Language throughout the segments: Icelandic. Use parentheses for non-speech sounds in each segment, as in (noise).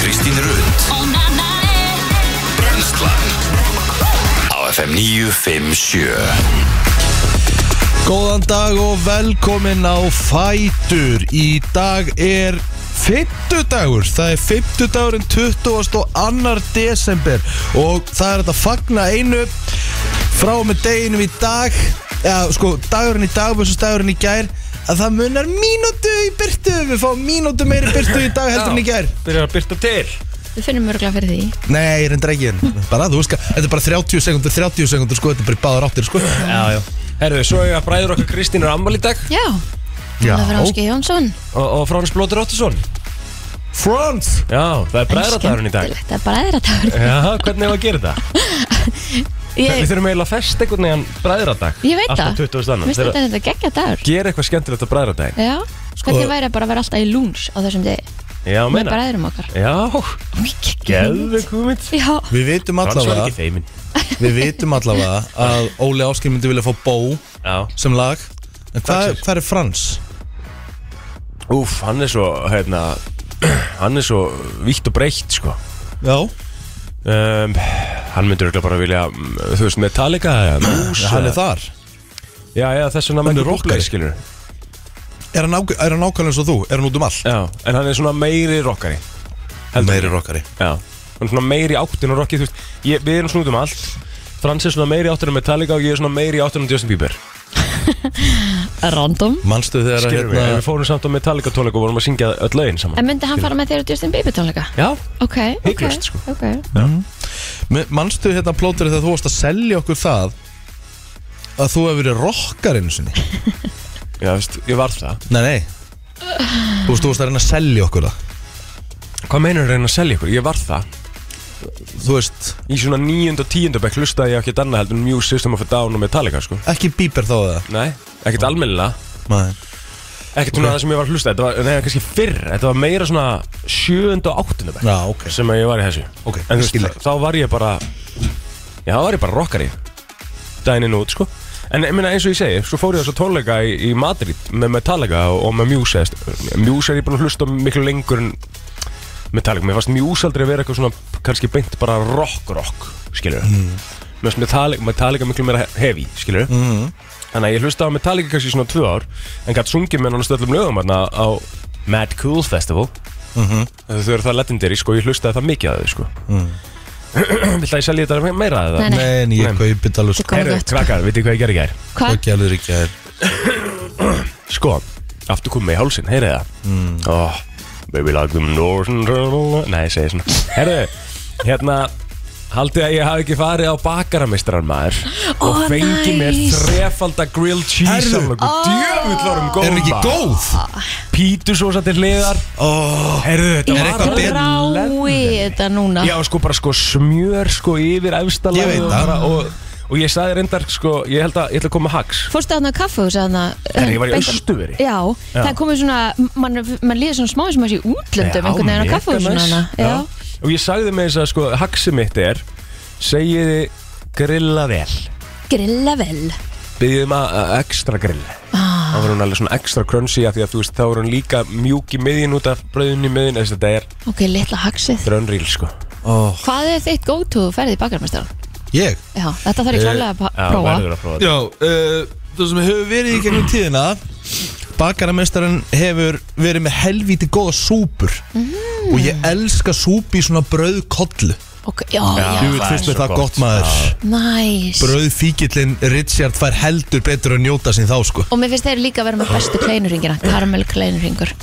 Kristín Rund Brenslan Á FM 957 Góðan dag og velkomin á Fætur Í dag er fimmtudagur Það er fimmtudagurinn 22. desember Og það er þetta að fagna einu Frá og með deginum í dag Eða sko, dagurinn í dag versus dagurinn í gær Að það munar mínútu í byrtu Við fáum mínútu meiri byrtu í dag heldur en í gær Byrjar að byrta til Við finnum örgulega fyrir því Nei, ég reyndar ekki en Bara, þú veist, hvað, þetta er bara 30 sekundur, 30 sekundur sko Þetta er bara í báðar áttir sko Já, já Herðu, svo eiga bræður okkar Kristín er ammal í dag Já, Já, það verður Áski Jónsson og, og Frans Blóður Óttarsson Frans Já, það er bræðratagurinn í dag Skemmtilegt, Það er bara aðratagur Já, hvernig hefur að gera þetta? Við ég, þurfum eiginlega að festa einhvern veginn bræðradag ég veit það Alltaf 20. annan Mér Þegar stundar þetta geggja dagur gera eitthvað skemmtilegt á bræðradaginn Já, Sko- hvernig væri að bara vera alltaf í lúns á þessum degi Já, Með meina bræðurum okkar Já, Mikið geðu komið Já, Við vitum Frans var allavega ekki feimin Við vitum allavega að Óli Áskil myndi vilja fá bó Já sem lag En hvað Takk sér. hva er Frans? Úf, hann er svo, hérna (clears throat) Hann er svo vítt og breytt, sko Já um, Hann myndur örugglega bara vilja mm, Þú veist, Metallica eða Muse Hann er eða- þar Já, já, þess vegna Hann er Michael Bublé, rockari. skilurðu. Er hann, ák- er hann ákvæmlega eins og þú? Er hann út um all? Já, en hann er svona meiri rockari Heldur. Meiri rockari Já Hann er svona meiri áttin og rockið, þú veist ég, Við erum svona út um allt Frans er svona meiri áttin um Metallica og ég er svona meiri áttin um Justin Bieber random Manstu þegar að Skilur við, en hérna við fórum samt á Metallica tónleika og vorum að syngja öll lögin saman En myndi hann fara með þér og Justin Bieber tónleika? Já, Ok, ok, Hiklaust, sko. ok Mi- Mhm. Manstu hérna plótur þegar þú varst að selja okkur það að þú hefur verið rockar einu sinni já, veist, ég varð það Nei, nei Þú veist, þú varst að reyna að selja okkur það Hvað meinar reyna að selja ykkur? Ég varð það Þú veist, Í svona níund og tíund bekk hlustaði ég á ekkert annað heldur en Muse, System of a Down og Metallica, sko ekki bíber þá það Nei, ekkert almennilega Nei Ekkert svona það sem ég var að hlusta, þetta var, nei, kannski fyrr Þetta var meira svona sjöund og áttunda bekk Já, ok sem að ég var í þessu Ok, En þú skil veist, ég. þá var ég bara Já, þá var ég bara rockari Dænin út, sko En ég meina, eins og ég segi, svo fór ég þess að tónleika í, í Madrid með Metallica og, og með Muse eðst. Muse er ég búin að hlusta á miklu lengur en Metallica Mér fannst Muse aldrei að vera eitthvað svona kannski beint bara rock-rock, skilur mm. Mér fannst Metallica, Metallica miklu meira heavy, skilur Mhm. Þannig að ég hlusta á Metallica kannski í svona tvö ár En gætt sungið með nánast öllum lögum hérna á Mad Cool Festival Þau eru það legendary, sko, ég hlustaði það mikið að þau, sko (clears throat) Vilt að ég selja þetta meira að það? Nei, nei, Nei, en ég Nei. kaupi þetta alveg Þetta sko kom Herru, gott krakkar, veitir hvað ég gerði í gær? Hvað? Hvað gælur ekki að Sko, aftur komið í hálsin, heyrið það mm. oh, Baby like the northern turtle Nei, ég segi svona Herru, hérna Haldið að ég hafi ekki farið á bakaramistran maður Og Oh, fengið mér nice. þrefalda grilled cheese Herru. Herru, oh. djöfull varum Er hún góðum ekki góð? Pítusósa til hliðar Oh. Herru, þetta Er var eitthvað alveg betra? Rái legendary. þetta núna Já, sko, bara sko smjör sko yfir efsta Ég lagið veit og það. bara- og, og ég sagði reyndar sko, ég held að ég ætla að koma með hax Fórstu þarna á kaffu og sagði þarna Herri, ég var í beint- Austurveri. Já, það er komið svona, mann man líður svona smá sem að sé í útlöndum einhvern veginn á mega kaffu og svona næs. hana Já. Já, Og ég sagði með þess að sko, haxi mitt er segiði grilla vel grilla vel byggjum að að extra grill ah. þá var hún alveg svona extra crunchy af því að þú veist, þá var hún líka mjúk í miðin út af brauðinu í miðin, þess að þetta er Ok, litla haxið drönrýl sko Oh. Hvað er þitt go-to ferðið í bakarmestaran? Ég? Já, þetta þarf ég klálega að pa- Eh, Já, prófa verður að prófa þetta. Já, uh, það sem hefur verið í gegnum tíðina Bakaramestarinn hefur verið með helvíti góða súpur Og ég elska súp í svona brauðkollu Ok, já, Já. já, Þú veit það fyrst er með svo það gott. gott maður næs Brauðfíkillin Richard fær heldur betur að njóta sín þá sko Og mér finnst þeir líka að vera með bestu kleinurringina Karamel kleinurringur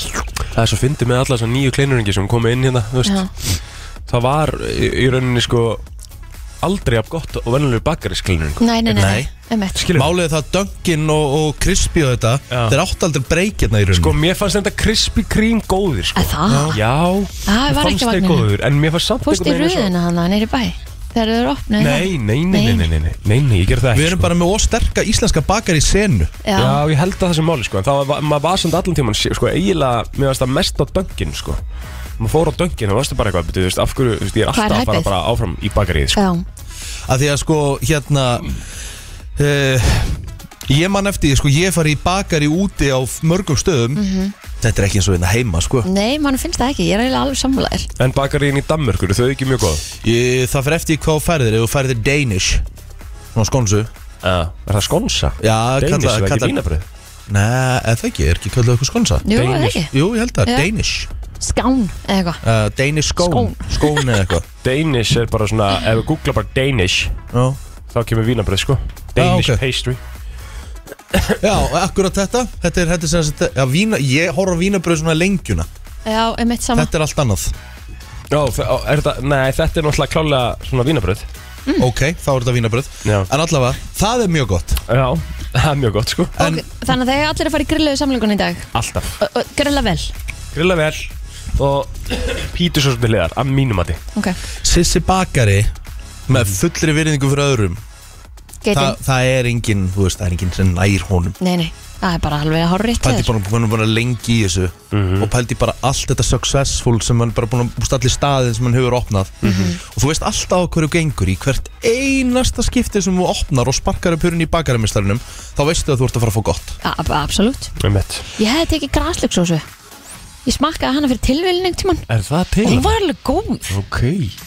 Það er svo fyndið með alla þessar nýju kleinuringi sem komu inn hérna, þú veist Já. Það var í, í rauninni sko aldrei af gott og vennilegur bakariskleinuring Nei, nei, nei, nei. Nei. einmitt. Skilur Málið er það að Dunkin og, og Crispy og þetta Já. Þeir átt aldrei breykirna í rauninni Sko, mér fannst þetta Krispy Kreme góðir, sko. Að það? Já, Það mér var fannst ekki þeir vagninum. góðir, en mér fannst samt Fórst í einhvern veginn röðina hann nýri bæ Þegar þau eru opnuð Nei, nei, nei, nei, nei, nei, nei, nei, nei, ég ger það ekki sko. Við erum bara með ósterka íslenska bakar í senu Já, Já, ég held að það sem máli, sko, en það var, maður var samt allan tíman, sko, eiginlega, mér varst það mest á döngin, sko Maður fór á döngin og varstu bara eitthvað, betur, þú veist, af hverju, þú veist, ég er Hvað alltaf er að fara hæpið? bara áfram í bakarið, sko já, að því að sko hérna uh, Ég man eftir, því, sko, ég fari í bakari úti á f- mörgum stöðum Þetta er ekki eins og hérna heima, sko Nei, mann finnst það ekki, ég er eiginlega alveg sammálaðir En bakarín í Danmörku, eru þau ekki mjög góð? ég, Það fer eftir því hvað þú færðir, ef þú færðir Danish Svona skónsu Uh, er það skonsa? Já, Danish, kalla- er það kalla- ekki vínabröð? Nei, eða það ekki, er ekki kallað eitthvað skónsa Jú, er það Danish. ekki, Jú, ég held það, Já. Danish skán eða eitthvað uh, Danish skón Skón. Skón eða eitthvað Danish er bara svona, ef við googla bara Danish Já, Þá kemur vínabröð, sko Danish ok. pastry Já akkurat þetta Þetta er, þetta er sem sagt já, vína, Ég horf á vínabröð svona lengjuna Já, um eitt sama Þetta er allt annað Já, þe- á, er þetta, nei, þetta er náttúrulega klálega svona vínabröð Ok, þá er þetta vínabröð Já. En allavega, það er mjög gott Já, það er mjög gott, sko en... Þannig að þeir allir að fara í grilluðu samlingun í dag Alltaf Ö- ö, Grilla vel, Grilla vel og pítur svo sem liðar, að mínum að ok, Sissi bakari Með fullri virðingu fyrir öðrum Þa, geitin Það er engin, þú veist, það er engin sem nær honum Nei, nei, það er bara alveg að horra rétt Pældi bara, hann er bara lengi í þessu Og pældi bara allt þetta successful Sem hann bara búin að búst allir staðin sem hann hefur opnað Og þú veist alltaf á hverju gengur í Hvert einasta skipti sem þú opnar Og sparkar upp hurinn í bakaramistarinnum Þá veistu að þú ert að fara að fá gott þér Absolutt, Um mitt ég hefði tekið graslöksósu Ég smakkaði hana fyrir tilvilning tímann Er það til? og hún var alveg góð Ok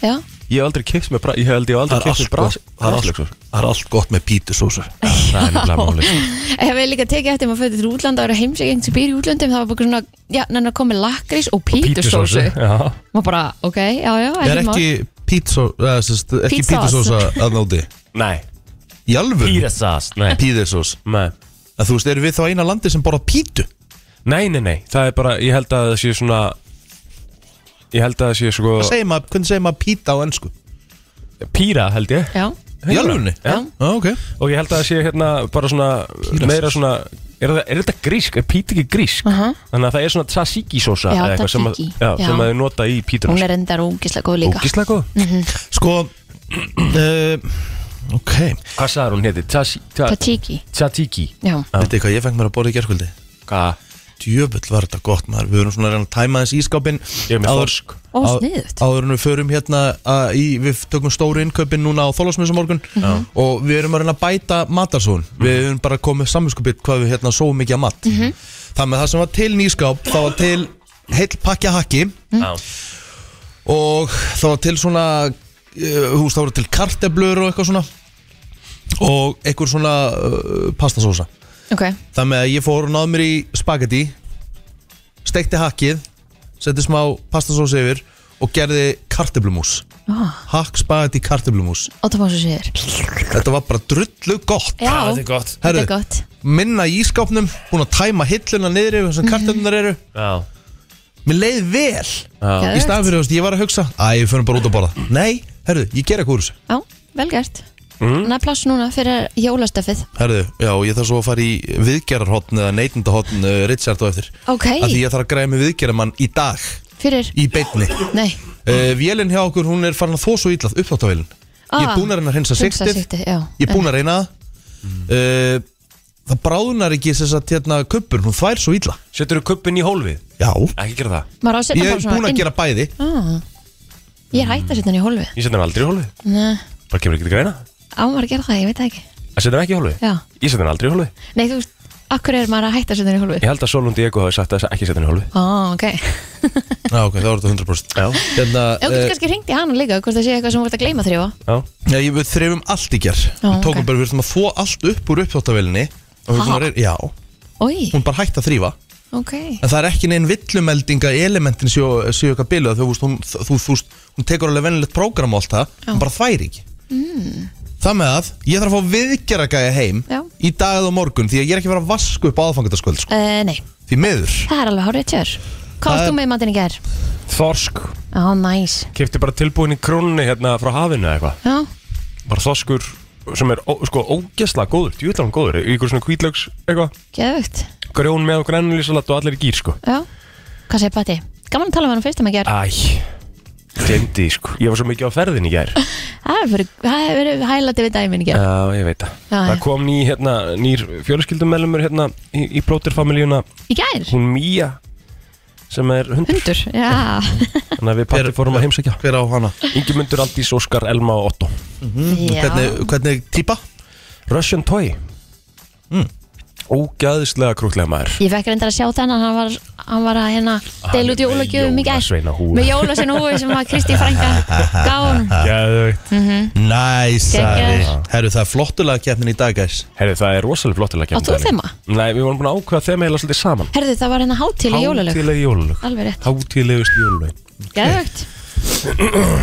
Já, Ég hef aldrei kipt með bra, ég hef aldrei, ég hef aldrei kipt með bra það er allt- það er allt gott með pítusósu sko. Það er nefnilega máli Ég hef líka tekið eftir maður fyrir til útlanda og eru heimsækjeng sem býr í útlandum það var bara svona, já, nennan að koma með lakrís og pítusósu Já Má bara, ok, já, já, Er mál. ekki pítsó- eða, sem sagt, ekki Pítsás. pítusósa að náti Nei Í alvöru Pírasast Nei pítusós Nei En þú veist, erum við þá eina landi sem borða pítu? Nei, nei, nei Það er bara, ég held að það sé svona Ég held að það sé sko Hvað segir maður, hvernig segir maður píta á ennsku? Píra held ég Já, Í alvörunni? Já Já, ok Og ég held að það sé hérna bara svona Pírasast. meira svona Er, það, er þetta grísk? Er píti ekki grísk? Aha. Þannig að það er svona tzatziki sósa Já, eða eitthvað sem að- tzatziki. Já, Já. sem að þau nota í pítur hún er endar ógislega góð líka Mm. Ógislega góð Sko (clears throat) uh, Ok Veitir Hvað sagði hún héti? Tatiki, Tzatziki já, Ah. hvað ég fengt mér að borða í gerkvöldi? Hvað? Djöfull var þetta gott maður Við erum svona að reyna að tæma þess ískápin Ég er með Áður- þorsk. Ó, á- sniðugt. Áður en við förum hérna að, í, Við tökum stóru innkaupin núna á Þólasmjössumorgun Og við erum að reyna að bæta matarsón Við Mhm. erum bara komið samvinskupið Hvað við hérna sóum mikið að mat mm Mhm. -hmm. Þannig að það sem var til nýskáp Það var til heill pakja hakki Mm. Já og það var til svona eh, þú veist, það voru til karteblur og eitthvað svona og eitthvað svona uh, pastasósa ok þar með að ég fór og náði mér í spagetti steikti hakkið setti smá pastasósa yfir og gerði karteblumús ah, hakk, spagetti, karteblumús Óttapásu síður þetta var bara drullu gott Já, Ah, þetta er gott. þetta Herðu. er gott minna í ískápnum, búin að tæma hilluna niður yfir þessum karteblunar eru Já mér leið vel Geðveikt. í staðan fyrir, þú veist, ég var að hugsa að ég fyrir bara út að borða nei, herðu, ég ger eitthvað úr þessu Já, vel gert Mm. Næ pláss núna fyrir jólastöfið Herðu, já, ég þarf svo að fara í viðgerarhotn eða neitindahotn uh, Richard og eftir Ok, Af Því ég þarf að græða með viðgeramann í dag fyrir, Í beinni uh, nei Vélinn hjá okkur, hún er farin að þó svo ítlað uppþáttavélinn Ég er Ah, búin að reyna að hreinsa hreinsa siktið sigtið, já. Ég er búin að reyna það uh, Það bráðunar ekki þess að hérna kuppur Hún þvær svo ítla Setur þú kuppin í hólfið? Já, Ekki gera það Maður á að setja ég bara er svona búin að inn- gera (laughs) bæði ah, Ég er hætt að setja hann í hólfið Ég setja hann aldrei í hólfið Nei, Bara kemur ekki til greina á maður að gera það, ég veit það ekki Það setja hann ekki í hólfið? Já. Ég setja hann aldrei í hólfið Nei, þú veist, akkur er maður að hætta að setja hann í hólfið Ég held að Solund Diego hafi sagt að ekki setja hann í hólfið Á, ok Já, ok, það var þetta 100% Já Hérna, Þú getur kannski hringt í hana líka, hvort það sé eitthvað sem þú vart að gleyma þrjóa Já Já, ég, við þreifum allt í ger Við tókum ok. bara, við þurfum að þó allt upp úr uppþáttavélinni og við þurfum að reyna- Já, Ói, hún bara hætti að þrýfa ok En það er ekki neinn villumelding að elementin séu, séu eitthvað biluð þú, veist, hún, þú, þú, veist, hún tekur alveg venilegt prógram á allt það, hún bara þværi ekki Það með að ég þarf að fá viðgerra gæja heim Mm. Já. í dag eða á morgun því að ég er ekki að vera að vasku upp á aðfangataskvöld sko. uh, Nei, því miður það er alveg hárið tjör Hvað Það varst er- þú með í matinn í gær? Þorsk Á, næs Kefti bara tilbúin í krónunni hérna frá hafinu eða eitthvað Já, Bara þorskur sem er ó, sko ógesla góður Djúðlega hann góður Í ykkur svona kvítlaugs eitthvað geðvögt Grjón með og grænulísalat og allir í gýr sko Já, hvað segir Patti? Gaman að tala um hann fyrst um að gera Æ Glemdi því, sko Ég var svo mikið á ferðin í gær Það hefur verið- það hefur verið hælatið við dæmin í gera Já, ég veit það Já, Það já. kom ný, hérna, nýr fjölskyldumellumur hérna í, í blóterfamiljuna Í gær? hún Mía sem er hundur Hundur, já þannig að við patti fórum að heimsækja Hver á hana? Ingimundur, Aldís, Óskar, Elma og Otto (laughs) Já, Hvernig, hvernig típa? Russian Toy Ógæðislega krútlega maður Ég fekk reyndar að sjá þennan, hann var, hann var að hérna er deila út með jólagjöfum í gær jólasveina húfu. með jólasveina húfi sem að Kristi frænka gaf hún (laughs) Gæðveikt Mm. Næs Gekkjaður. nice, Herru það er flottulega keppnin í dag guys Herri, það er rosalega flottilega Átt þú þema? Nei, við vorum búin að ákveða þema eða svolítið saman Herðu það var hérna hátíli jólalög Hátíðlega jólalög Alveg rétt, Hátíðlegust jólalög geðvögt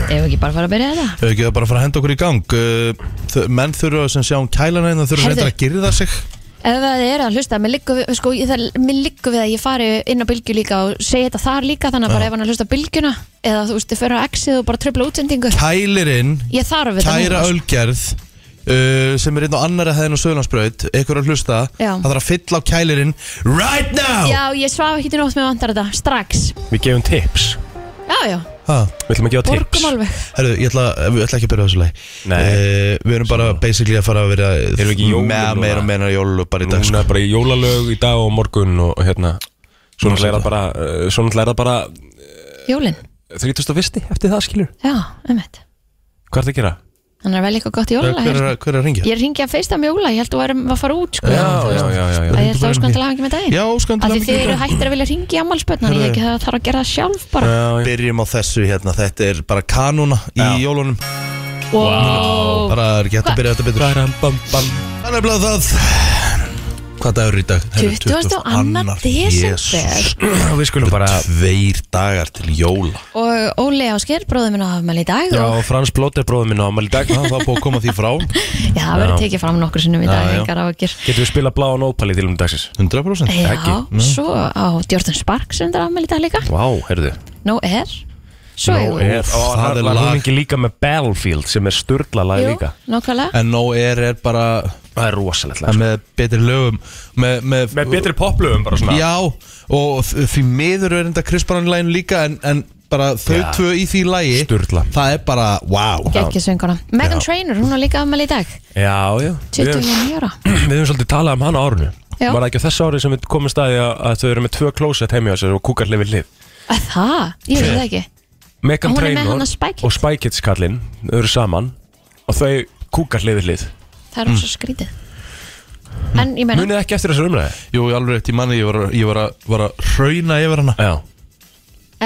Ef ekki bara fara að byrja þetta Þau ekki það bara að fara að henda okkur í gang Uh, þau- Menn þurfa sem sjá um kælana Það þurfa Herðu. reyndar að girða sig Ef það er að hlusta, mér liggur við, sko, ég- það- mér liggur við að ég fari inn á bylgju líka og segi þetta þar líka þannig að bara ef hann er að hlusta á bylgjuna eða þú veist, þið fyrir á exið og bara tröfla útsendingu Kælirinn, Ég þarf þetta kæra núna, sko. ölgerð uh, Sem er einn og annara hæðin á Söðlandsbraut Ekkur að hlusta Já. Það þarf að fylla á kælirinn Right now Já, ég svaf ekki til nótt með vantar þetta, strax Við gefum tips Já, já, ha, Við ætlum að gefa tips borgum alveg Herru, ég ætla, ég ætla ekki að byrja á þessu leið Nei. Við erum bara basically að fara að vera Erum við ekki í jólum með- núna? Meira og meira jólu bara í dag sko. Núna bara í jólalög í dag og morgun og og hérna Svona Nú, er það bara, uh, svo náttúrulega er það bara uh, Jólin, 31. eftir það skilur já, einmitt Hvað er það að gera? Hann er vel eitthvað gott Hver jólalag hver er hérna. að- hver er að ringja? Ég ringja fyrst að mjóla, ég held að varum að fara út sko. Já, já, já, já, já. Að ég held Hringdu að bara óskan í til hafa ekki með daginn Já, óskan til Af því hamingju þið eru með hættir að vilja ringja í ammálspötnar Ég ekki það þarf að gera það sjálf bara Já, Byrjum á þessu hérna, þetta er bara kanúna í Já. jólunum Wow. Bara er ekki hægt að byrja þetta betur Baram, bam, bam. Það er bara það Hvað dagur er í dag? Herru, 22. 22. desember Við skulum bara Tveir dagar til jóla Og Óli Ásker, bróðum minn á afmæli í dag Já, og Frans Blóter bróður minn á afmæli í dag Það var búið að koma því frá Já, það verður tekið fram nokkur sinnum í dag Já, já. Engar áhyggjur Getum við spila bláan ópal í tilum dagsins 100% Já, Ekki. Mm. svo á Djórtun Spark sem þetta afmæli í dag líka Vá, heyrðu No Air Svo Nó eigum við- er, og það það er var lag. hún ekki líka með Battlefield sem er sturla lag Jú, líka nákvæmlega En no er er bara Það er rosalegt að lag sko. með betri lögum Með, með, Með betri poplöfum bara svona Já, og f- því miður er enda Krisparanlægin líka en, en bara þau Já. tvö í því lægi Sturla. Það er bara, wow Gekkið sönguna Megan Trainor, hún á líka afmæli í dag já, já. Við, 29 ára (clears throat) við höfum svolítið talað um hana á árunu Já. Var það ekki á þessu ári sem við komum staði að, að þau eru með tvö klósett heimja sér og kúkar hlifið hlif Að Það? Ég veit það ekki Megan Hún er með hana Trainor Spy Kids. og Spy Kids kallinn Þau eru saman og þau kúkar hlifið hlif Það er Mm. svo skrítið En ég meina, Munið ekki eftir þessu umræði Jú, ég alveg rétt í manni, ég var, að- ég var, að, var að hrauna yfir hana Já,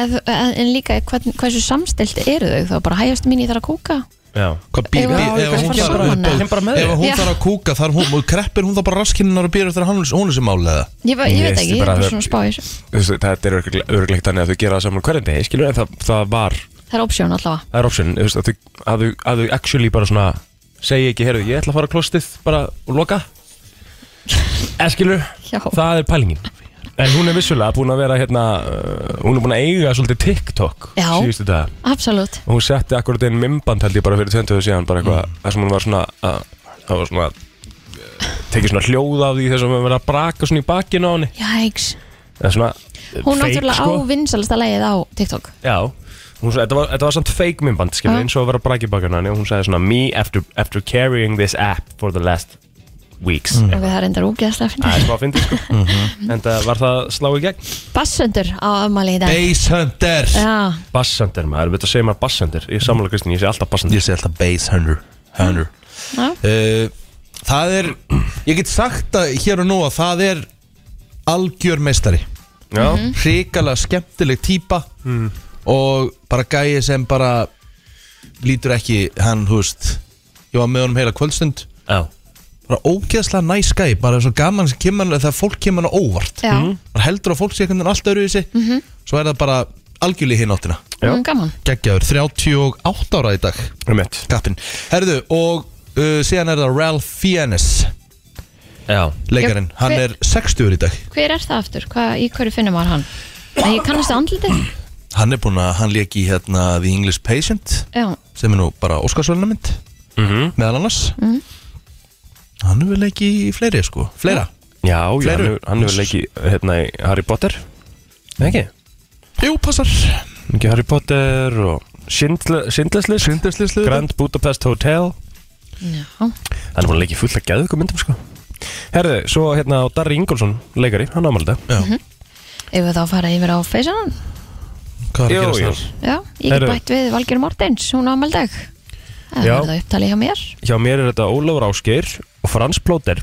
ef, en líka hvern, hversu samstilt eru þau þá bara hægast mín ég þarf að kúka já Hvað býr, Ef býr, hún- ef ef hún hún þarf bara- að- kem bara með ef þér. hún Já. þarf að kúka þar hún, og kreppir hún þá bara raskinnar og býr eftir að hann hún sem álega Ég, bara- ég Ég veit veist ekki, ég er bara bara að- svona að spá í þessu Þú veist, Þetta er örgleikt þannig að þau gera það saman hverjum degi skilur en það, það var Það er opsjón allavega það er option þú veist, að, þau, að, þau, að þau actually bara svona segi ekki, heyrðu, ég ætla að fara á klostið bara og loka (laughs) eða skilur, Já. það er pælingin en hún er vissulega búin að vera hérna, uh, hún er búin að eiga svolítið TikTok Já. síðustu dag Absolutt og hún setti akkurat einn mymband held ég bara fyrir 20 síðan bara Mm. eitthvað, þar sem hún var svona að, það var svona eh, tekið svona hljóð af því þess að hún verið að braka svona í bakinu á henni Jæks eða svona eh, Hún fake, náttúrulega á vinsalasta lægið á TikTok Já Hún sagði, þetta var, þetta var samt fake myndband, skilur, Já. eins og að vera brakið bakana henni og hún sagði svona, me after, after carrying this app for the last weeks og við það er endar úgeðslega Það að finna er smá fyndið, sko Mhm. En það var það slá í gegn Bassundur á afmæli í dag Bass Hunter Já, Bassendir, maður, veit að segja maður bassendir Ég sammála Kristín, ég segi alltaf bassendir Ég segi alltaf Bass Hunter, hunter. já, Uh, Það er, ég get sagt að hér og nú að það er algjör meistari Já, Mhm. hrikalega skemmtileg típa og bara gæi sem bara lítur ekki hann, þú veist ég var með honum heila kvöldstund já, bara ógeðslega næs gæi, bara svo gaman sem kemur hann, þegar fólk kemur hann á óvart já, Mm, bara heldur að fólk sé einhvern veginn alltaf öruvísi svo er það bara algjörlega hinn áttina Já. mm, gaman geggjaður, 38 ára í dag um mitt kappin, herðu og uh, síðan er það Ralph Fiennes Já, leikarinn, Já, hann hver- er 60 ára í dag Hver er það aftur? Hva, í hverju finnum maður hann? Nei, ég kannast það andliti hann er búinn að, hann leik í hérna The English Patient Já, sem er nú bara Óskarsvölunarmynd mm meðal annars Mhm. hann er vel ekki í fleiri sko fleira já, já Fleiru? hann hefur- hann hefur leikið hérna í Harry Potter Nei, Ekki, jú, passar ekki Harry Potter og Sindleslist Synderslislu Grand Budapest Hotel já, Hann er búin að leika í fullt að geða ykkur myndum sko Herðu, svo hérna á Darri Ingolson, leikari, hann ámaldi já, Mhm. ef við þá að fara yfir á feysanan hvað er Jú, að jú. gerast Já, ég get Heyrðu. bætt við Valgjör Mortens, hún á afmældag Það Já. verður það upptalið hjá mér Hjá mér er þetta Ólafur Ásgeir og Frans Plóter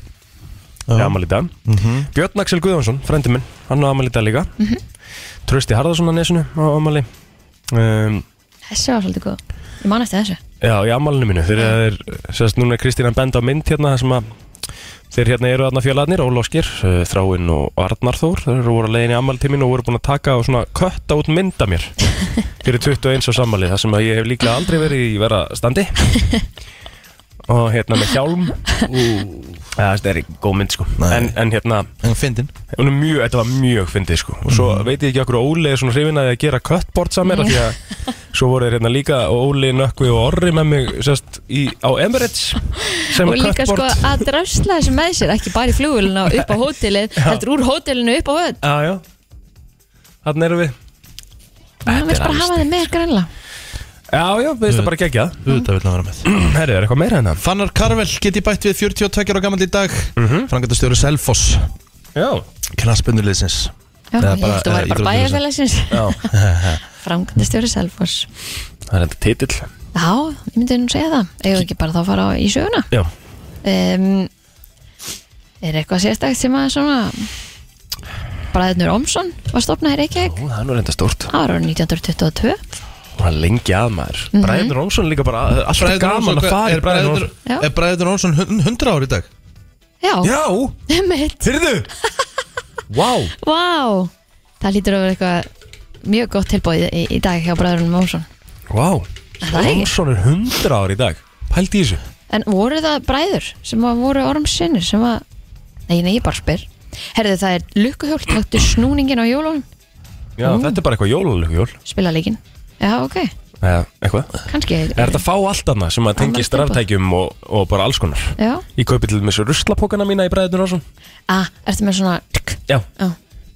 er amal í dag Björn Axel Guðjónsson, frendi minn, hann á amal í dag líka Trösti Harðarsson á nesinu á amali um, Þessi var svolítið góð Ég man eftir þessu Já, í amalinu mínu Þeir eru, sérst núna er Kristín að benda á mynd hérna þar sem að Þeir hérna eru þarna félagarnir, Ólóskir, Þráinn og Arnar Þór Þeir eru voru að leiðin í amaltíminu og voru búin að taka og svona kötta út mynda (laughs) mér Fyrir 21 og sammali, þar sem að ég hef líklega aldrei verið í vera (laughs) standi Og hérna með hjálm Já, þetta er ekki góð mynd sko Nei. en, en hérna, En fyndin hún er mjög, þetta var mjög fyndið sko og svo veit ég ekki okkur að Óli er svona hrifin að því að gera cutboard samir af því (laughs) að svo voru þeir hérna líka Óli, Nökkvi og Orri með mig sérst í, á Emirates sem Og líka sko cutboard að drafsla þessu með sér Ekki bara í flugulina (laughs) og upp á hótelið Heldur úr hótelinu upp á höll Já, já Þannig erum við Hann er alls vil bara sko. hafa þeim með grannlega Já, já, við veist það bara gegja Þetta vil hann vera með Herri, er eitthvað meira hérna? en það? (clears throat) Fannar Karvel geti bætt við 42 ára gammal í dag mm -hmm. Frangatastjóri Selfoss Já Knaspunuliðsins Já, Eða ég bara- eh, eða held að væri bara íþróttafélagsins. bæjarfélagsins Framkvæmdastjóri Selfoss Það er þetta titill Já, ég myndi nú segja það Eða ekki bara þá að fara á- í söguna Já um, Er eitthvað sérstakt sem að svona Bræðinur Ómsson var stopnað í Reykjavík Ú, það er nú reynda stórt Það var árið 1922 Það er lengi að maður Mhm. mm Bræður Rómsson líka bara Alltaf gaman að fara í Bræður Rómsson Já. Er Bræður Rónsson 100 ára í dag? Já, (laughs) Já, mitt hyrðu (laughs) Vá Vá, það lítur að vera eitthvað mjög gott tilbúið í, í dag hjá bræðurinn Ómsson Vá, það ekki? Jónsson er 100 ár í dag Pældi í þessu En voru það bræður sem að voru ormsinnir sem að Nei, nei, ég bara spyr Herðu, það er lukkuhjól, taktu snúningin á jólunum Já, Mm. þetta er bara eitthvað jólulegjól Spila leikinn Já, ok, Eða eitthvað kannski Er þetta að fá allt annað sem að tengist Annars ráftækjum og, og bara alls konar Já, Ég kaupi til þessu ruslapokana mína í bræðinu og svona að, ertu með svona tk, Já, Já,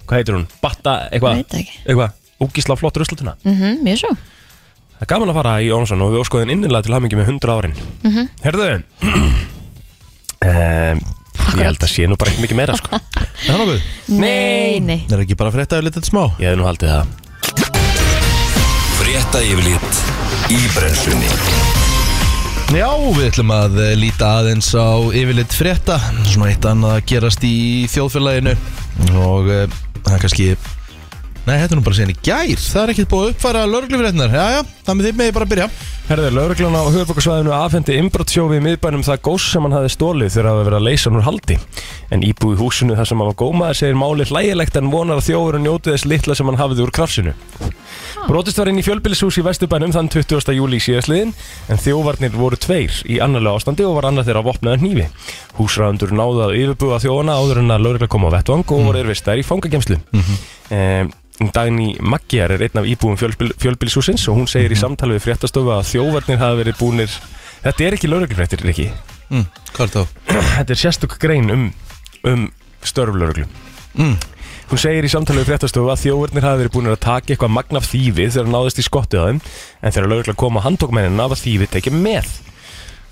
hvað heitir hún? Batta, eitthvað Veit ekki. Eitthvað, ógísla flott ruslutuna mhm, mjög svo Það er gaman að fara í Jónsson og við óskoðum innilega til hamingi með 100 árin mm Mhm. -hmm. Herðu um, Ég held að sé nú bara ekki mikið meira sko Er það nokkuð? Nei, nei Er ekki bara frétta yfir litið smá? Ég hef nú haldið það Frétta yfirlit í brennslunni Já, við ætlum að eh, líta aðeins á yfirleitt frétta Svona eitt annað að gerast í þjóðfélaginu Og eh, það er kannski Nei, þetta er nú bara síðan í gær Það er ekkert búið að uppfæra lörglifrétnar Jæja, það með þið með ég bara að byrja Herðið, lauruglan á höfðbókarsvæðinu afhendi innbrottsjófi í miðbænum það gós sem hann hafði stólið þegar það hafði verið að leysa hann úr haldi. En íbúi í húsinu þar sem hann var gómaði segir málið hlægilegt en vonar að þjófurinn njóti þess litla sem hann hafiði úr krafsinu. Brotist var inn í fjölbýlishús í Vesturbænum þann 20. júli í síðasliðin en þjófarnir voru tveir í annarlega ástandi og var annar þeirra vopnaður hnífi. Húsræðundur náðu að yfirbuga þjófana áður en að laurugla kom á vettvang og voru erfistar í fangagemslu. Mm Dagný Maggjar er einn af íbúum fjölbýl, fjölbýlishúsins og hún segir í samtali við fréttastofu að þjófarnir hafi verið búnir Þetta er ekki lauruglufréttir, Riki mm, Hvað er þá? Þetta er sérstök grein um, um störflauruglu Mm. Hún segir í samtali við fréttastofu að þjófarnir hafi verið búnir að taka eitthvað magnaf þýfi þegar náðist í skottið á þeim en þegar laurugla kom á handtókmennina var þýfi tekið með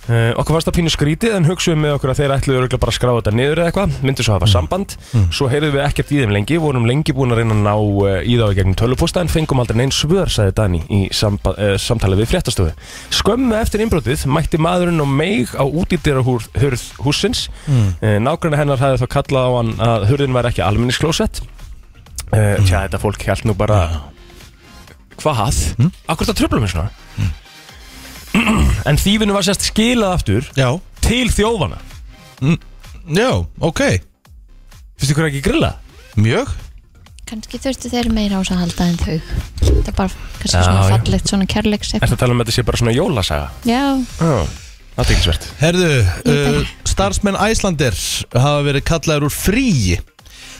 Uh, okkur fannst það pínu skrítið en hugsuðum með okkur að þeir ætluðu örgulega bara að skrá þetta niður eða eitthvað myndu svo hafa samband, svo heyrðum við ekkert í þeim lengi vorum lengi búin að reyna að ná uh, í þá í gegnum tölvupósta en fengum aldrei neins svör sagði Dani í samba, uh, samtali við fréttastofu skömmu eftir innbrotið mætti maðurinn og meig á útidýra hurð húsins mm. uh, hennar hafði þá kallað á hann að hurðin væri ekki alminnisklósett uh, tja, þetta fólk held nú bara Ah. hvað? Mm. Akkur það tröflum við svona? En þýfinu var sérst skilað aftur Já, til þjófana já, ok Fyrstu ykkur ekki grilla? Mjög Kannski þurftu þeir meira á þess að halda en þau Þetta er bara kannski svona Já, já. fallegt, svona kærleiks Er það að tala um að þetta sé bara svona jólasaga? Já, Já, það er ekki svert Herðu, Líta. uh, starfsmenn Æslandir hafa verið kallaður úr fríi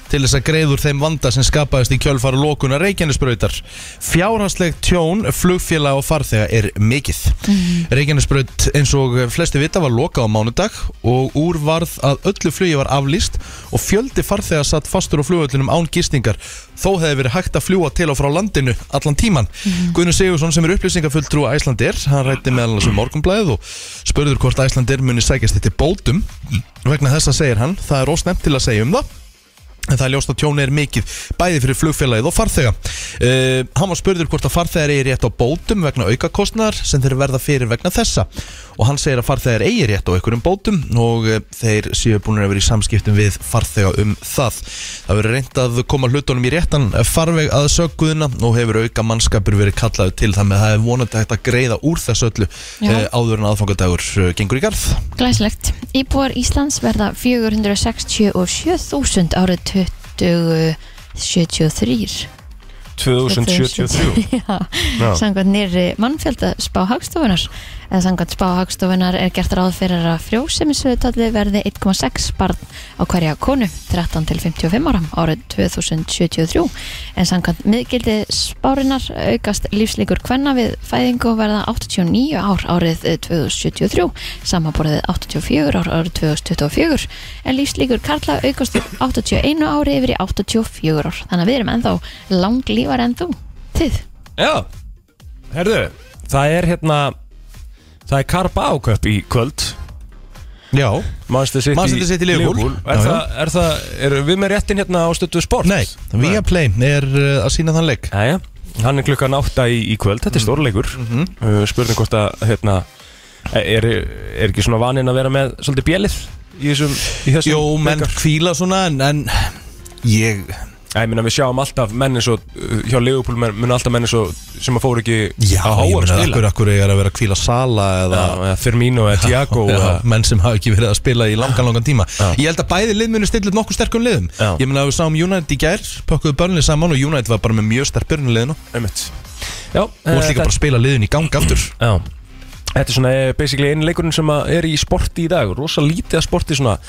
til þess að greið úr þeim vanda sem skapaðist í kjölfara lókunar Reykjanesbrautar. Fjárhansleg tjón, flugfélag og farþega er mikið. Reykjanesbraut eins og flesti vita var lokað á mánudag og úr varð að öllu flugi var aflýst og fjöldi farþega satt fastur á flugöllinum án gistingar. Þó hefði verið hægt að fljúa til og frá landinu allan tíman. Guðnur Sigursson sem er upplýsingafulltrú Æslandir, hann rætti meðal hans um morgunblæðið og spurður hvort Æslandir muni sækjast þetta bótum. Vegna þessa segir hann, það er ósnemt til að segja um það En það er ljóst að tjóni er mikið, bæði fyrir flugfélagið og farþega. Uh, hann var spurður hvort að farþegar eigi rétt á bótum vegna aukakostnar sem þeir verða fyrir vegna þessa. Og hann segir að farþegar eigi rétt á einhverjum bótum og uh, þeir séu búin að vera í samskiptum við farþega um það. Það verður reynd að koma hlutunum í réttan farveg að sögguðina og hefur auka mannskapur verið kallaður til það með það er vonandi hægt að greiða úr þessu öllu Já. uh, áður en aðfangadagur uh, gengur í garð. Glæslegt. Íbúar Íslands verða 467.000 árið 2073. 2073 (laughs) Já, Já. samkvæmt nýri mannfjöldaspá hagstofunar. Eða samkvæmt spá hagstofunar er gert ráð fyrir að frjósemisviðtalli verði 1,6 barn á hverja konu 13 til 55 ára árið 2073. En samkvæmt miðgildi spárinar aukast lífslíkur kvenna við fæðingu og verða 89 ár árið 2073, samaborðið 84 ár árið 2024 en lífslíkur karla aukast úr 81 ári yfir í 84 ár þannig að við erum ennþá langlífar enn þú þið, Já, herðu Það er hérna Það er Carpa áköp í kvöld Já, Manchester City, Manchester City, Liverpool. Er, Já, já. það, er það, erum við með réttin hérna á stötu sport? nei, Viaplay er uh, að sína þann leik. Jæja, hann er klukkan átta í, í kvöld, þetta er stórleikur mm uh, Spurning hvort að, hérna, er, er ekki svona vaninn að vera með svolítið bjelið í þessum, í þessum Jó, menn leikar? kvíla svona en, en ég, Æ, ég meina við sjáum alltaf menn eins og, uh, hjá Leopold mun alltaf menn eins og sem að fóru ekki já, á háar ég meina spila akkur, akkur er að vera að kvíla sala eða Já, eða Firmino eða Thiago já, eða- menn sem hafa ekki verið að spila í langan langan tíma Ég held að bæði lið muni stilla upp nokkuð sterkum liðum Já. Ég meina að við sáum United í gær, pökkuðu börnlið saman og United var bara með mjög sterk börnliðinu og Einmitt. Já, eh, varst líka þetta- bara að spila liðin í gang aftur Já Þetta er svona eh, basically einu leikurinn sem að er í sporti í dag Rosa lítið að sporti svona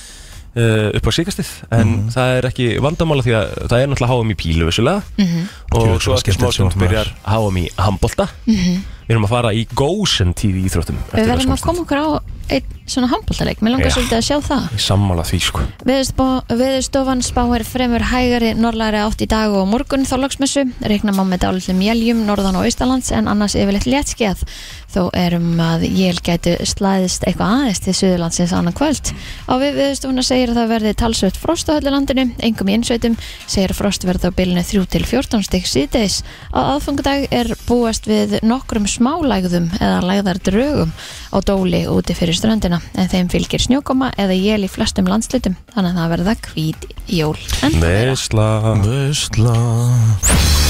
uh, upp á síkastið En Mhm. það er ekki vandamála því að það er náttúrulega háum í pílu vissulega Mhm. Djöfull, Og svo það ekki skemmtilegt smá stund sjónvarp, maður. byrjar háum í handbolta Við erum að fara í gósen tíð í íþróttum eftir Mhm. við þessa verðum að smástund. koma okkur á einn svona handbóltaleik, mér langar Já. svolítið að sjá það Ég sammála því sko Veðurspá- Veðurstofan spáir fremur hægari norðlæri átt í dag og morgun þá loksmessu, reikna má með dálitlum jéljum norðan og austalands en annars yfirleitt léttskeið þó erum að jél gætu slæðist eitthvað aðeins til suðurlandsins annan kvöld. Á við veðurstofuna segir að það verði talsvöld frost á öllu landinu engum í innsveitum, segir að frost verði á bilinu 3 til 14 stygg síðdeis á aðfungudag er búast við nokkrum smálægðum eða lægðar drögum á dóli úti fyrir ströndina en þeim fylgir snjókoma eða jél í flestum landslutum þannig að það verða hvít jól en það verða Vesla Vösla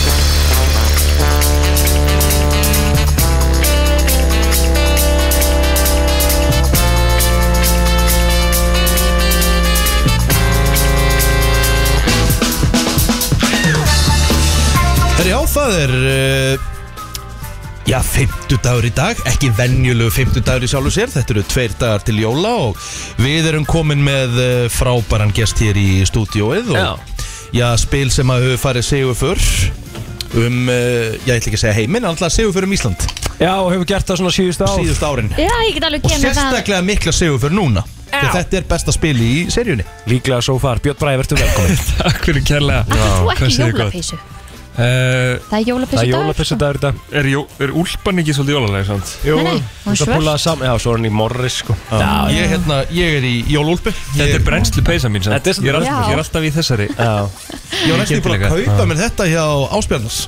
Herri, já, það er uh, Já, fimmtudagur í dag, ekki venjulegu fimmtudagur í sjálfu sér, þetta eru tveir dagar til jóla og við erum komin með eh, frábæran gest hér í stúdióið og Já. já, spil sem að hefur farið segjum fyrr um, uh, já, ég ætla ekki að segja heiminn, en alltaf segjum fyrr um Ísland Já, og hefur gert það svona síðust á síðust árin Já, ég get alveg og genið það sérstaklega mikla segjum fyrr núna þegar þetta er besta spil í seríunni Líklega svo far, Björn Bræði, verður velkomin Takk fyrir kærlega Akkur þú hvað ekki segir jólapeysu? uh, Það er Það er jólapeysu dagur jólapissu dagur í dag er, jó, er úlpan ekki svolítið jólalega samt? Nei, nei, hún er Það svört púlaði saman, já, svo er hann í morris sko Já, ég, hérna, ég er í jólúlpi Þetta er brennslu peysa mín samt Þetta er svolítið- ég, er alltaf, Já. ég er alltaf í þessari já Ég var næstu Ég get búin að líka. kaupa mér þetta hjá Áspjarnas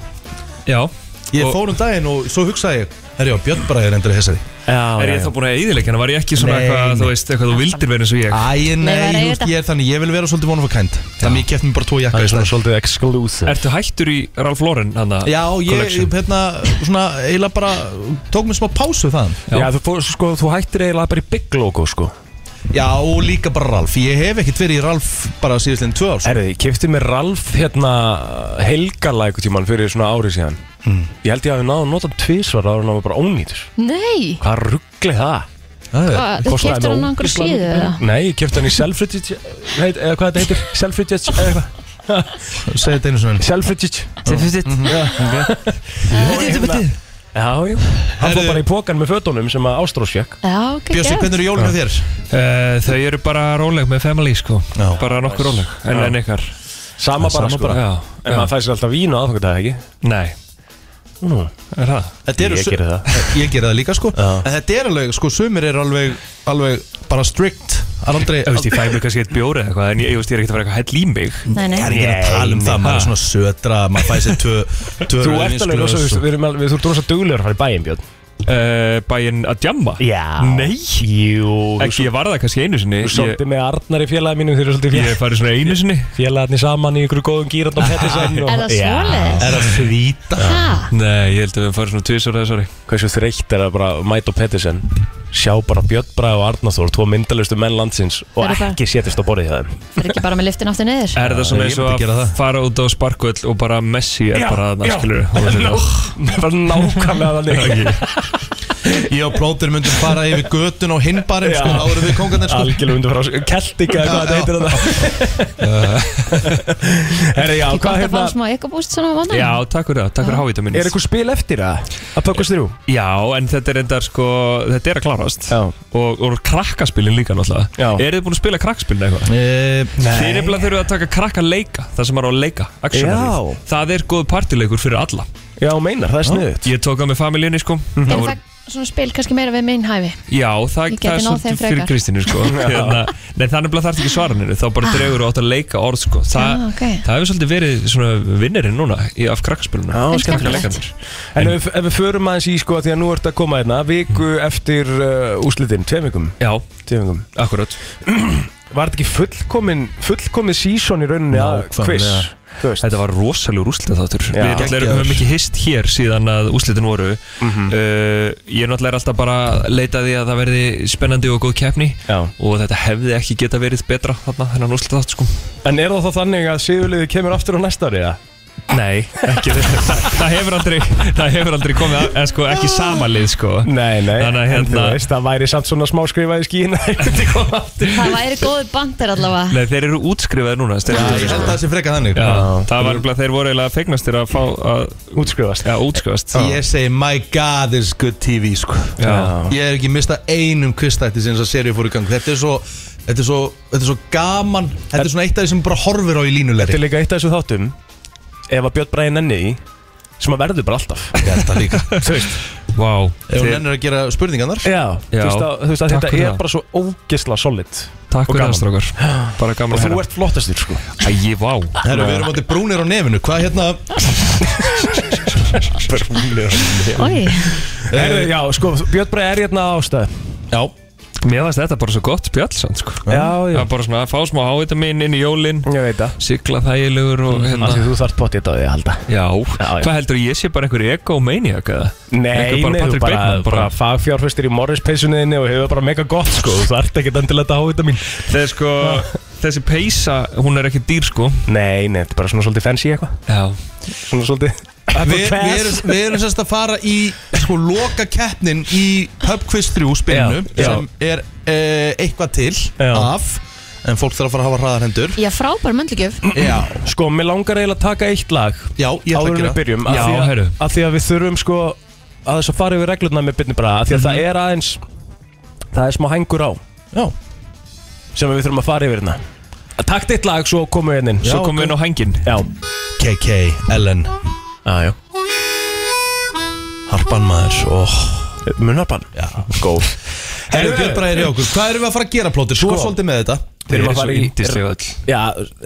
Já Ég Og- fór um daginn og svo hugsaði ég Herjá, Björn Bræði reyndur þessari Já, Er já, ég já. þá búin að eðilegja hana? Var ég ekki svona Nei, eitthvað, nei. þú veist, eitthvað þú vildir vera eins og ég? Æ, nei, það er þú veist, auðvitað. ég er þannig Ég vil vera svolítið vonum fyrir kænt Þannig ég keft mér bara tvo jakka Það í er svona stað svolítið exclusive Ertu hættur í Ralph Lauren hann að Já, ég, collection? hérna, svona, eiginlega bara Tók mér smá pásu þaðan Já, þú, fór, sko, þú hættir eiginlega bara í big logo sko. Já, og líka bara Ralf Ég hef ekkert verið í Ralf bara síðustlega tvö ár sko. Erði, ég kefti mér Ralf hérna helgala einhvern tímann fyrir svona ári síðan Ég held ég hafi náðu notan tvísvar ára en hann var bara ónýtur Nei, Hvað ruggli það? Það er- hvað, þú Kostaði mig keftur hann á einhverju ógeðslega síðu mikið eða? pening. Nei, ég kefti hann í Selfridge heit, eða hvað þetta heitir? Selfridge eða eitthvað Segðu þetta einu svona Selfridge Selfridge Já, já, já Hann fór Herðu- bara í pókan með fötunum sem að Ástrós fekk Já, ok, Bjössi, geðveikt. hvernig eru jólum með þér? Eh, Þau eru bara róleg með family sko Já. Bara nokkur róleg En, en ykkar Sama bara Sama sko bara. Já, En já. maður fær sér alltaf vín á aðfangatæði ekki Nei Nú, er það? Þetta eru Ég sum- geri það. Ég geri það líka sko Já. En þetta er alveg, sko, sumir eru alveg, alveg bara strikt Andrei, Þú veist, ég fæ mér kannski eitt bjóri eða eitthvað En ég, ég veist, ég er ekkert að fara eitthvað hell í mig Nei, nei, Það er ekki að tala um það, maður er svona södra, maður fæði sér tvö, tvö Þú ert rauðvínsglös alveg rosa, og- við, við, erum al- við þú ert rosa duglegur að fara í bæinn, Björn uh, Bæinn að djamma Já Nei. Jú Ekki, ég var það kannski einu sinni Þú Ég, svolítið með Arnar í félagi mínum, þeir eru svolítið ég farið svona einu sinni félagarnir saman í ykkur góðum gýrand og Pettersson og... Er það Já. (laughs) svoleiðis? Er það fríta? Hæ? Nei, ég held að við farið svona tvisar eða sorry Hversu þreytt er að bara mæta á Pettersen Sjá bara Björn Braga og Arnar Þór Tvo myndalustu menn landsins Og Það er bara- ekki setjast á borðið hjá þeim (laughs) Það er ekki bara með liftin (laughs) aftur niður? Er það ég svona eins myndi og gera að það. fara út á sparkvöll og bara Messi er bara að skilur Það var nákvæmlega (laughs) þannig Ég og plótir myndum fara yfir götun og hinbarinn sko, Já. árið við kongarnir sko Algjörlega undir frá Keltika eða hvað Já, þetta heitir þetta Herri, já, hvað Ekki gott að fá hérna smá ekobúst svona á vandan? Já, takk fyrir það, takk fyrir hávita Er eitthvað spil eftir það? Að pökkast þrjú? Já, en þetta er endar sko, þetta er að klárast Já og, og krakkaspilin líka Já. náttúrulega Eru þið búin að spila krakkaspilin eitthvað? Eh, Þið er eftir þurfið að taka krakka leika Það sem er á leika, action Já. Það er góð partileikur fyrir alla Já, meinar, það er sniðut Ég tók það með familíunni sko Er Það Mhm. það svona spil kannski meira við minn hæfi? Já, það, Ég það gæti er náð þeim svolítið fyrir frekar. Kristínu (laughs) sko hérna, Nei, þannig að það er ekki svaranir Þá bara Ah. dregur og átt að leika orð sko Þa, Já, ok. Það hefur svolítið verið svona vinnerinn núna í, Af krakkaspilinu En Krakka skemmtilegt. leikarnir. En ef, ef við förum aðeins í sko Því að nú ert að koma hérna Viku eftir uh, úslitin, tveim vikum Já, Tveim vikum akkurat Var þetta ekki fullkomin Fullkomið sísón í rauninni að Nákvæmlega. quiz Þú veist Þetta var rosalegur úslita þáttur Já. Við allir Geggjaður. höfum ekki hist hér síðan að úslitin voru uh, Ég er náttúrulega alltaf bara að leita að því að það verði spennandi og góð keppni Já. Og þetta hefði ekki geta verið betra þarna þennan úslita þátt sko En er það þá þannig að sigurliði kemur aftur á næsta ári, eða? Nei, ekki það, það hefur aldrei Það hefur aldrei komið að, eða sko, ekki samanlið sko (laughs) Nei, nei, Þannig að en þú hérna- veist, það væri samt svona smá skrifað í skína Það væri góður bandir allavega Nei, þeir eru útskrifaðir núna Já, stendur ég þetta, held sko. að það sé frekar þannig Já, það var alveg þeir voru eiginlega fegnastir að fá að Útskrifast já, útskrifast Ég segi my god is good TV sko Já. Ég er ekki mista einum kvistætti sinns að serið fór í gang Þetta er svo, þetta er svo, þetta er svo gaman Þetta er svona eitt af því sem bara horfir á í Þetta línulegri er líka eitt af þessu þáttum Ef að Björn Bræði nenni því sem að verður bara alltaf Ég held það líka Ef Þú veist, Vá, hún þeir, nennir að gera spurningarnar já, þú veist, að, þú veist að Takk þetta fyrir er það. bara svo ógeðslega solid takk og fyrir gaman. það strákar Bara gaman Og að þú hérna ert flottastur sko Æ, vá Herru, við erum átti brúnir á nefinu Hvað hérna, Oi, Heru, Já, sko, Björn Bræði er hérna á ástæð Já Mér finnst þetta bara svo gott pjallsand sko Já, Það já, er bara svona að fá smá hávitamín inn í jólin ég veit það Sigla þægilegur og hérna Mm, Af því þú þarft potið þetta á því að halda Já, já. hvað heldur ég sé bara einhver egomaniak eða? Nei, Einhver nei, þú Patrick bara, Bateman, bara bara- fagfjárfustir í morrispeysuninni og hefur bara mega gott sko Þú þarft ekkert endilega þetta hávita mín Þegar sko, (laughs) þessi peysa, hún er ekki dýr sko Nei, nei, þetta er bara svona svolítið fancy eitthvað Já Svona svolítið við, við erum, við erum sérst að fara í sko loka keppnin í Pub Quiz 3 spilinu Já, já. sem er uh, eitthvað til Já. af en fólk þarf að fara að hafa hraðarhendur já frábær möndlugjöf Já, Sko, mér langar eiginlega að taka eitt lag já, ég ætla áður að en gera við byrjum Já, af, því heyrðu. að, af því að við þurfum sko að þess að fara yfir reglurna með byrni bara af því að það er aðeins það er smá hengur á Já, sem við þurfum að fara yfir hérna Takt eitt lag svo komum við hérna inn Svo Svo komum við inn á hængin Já, KK, Ellen, ah, já. Harpan maður Oh. og Munarpan Já, Góð herru Björn Bræðir í okkur Hvað erum við að fara að gera plótir? Svo Sko. svolítið með þetta Þeir erum að eru svo fara í- yndislega öll Já,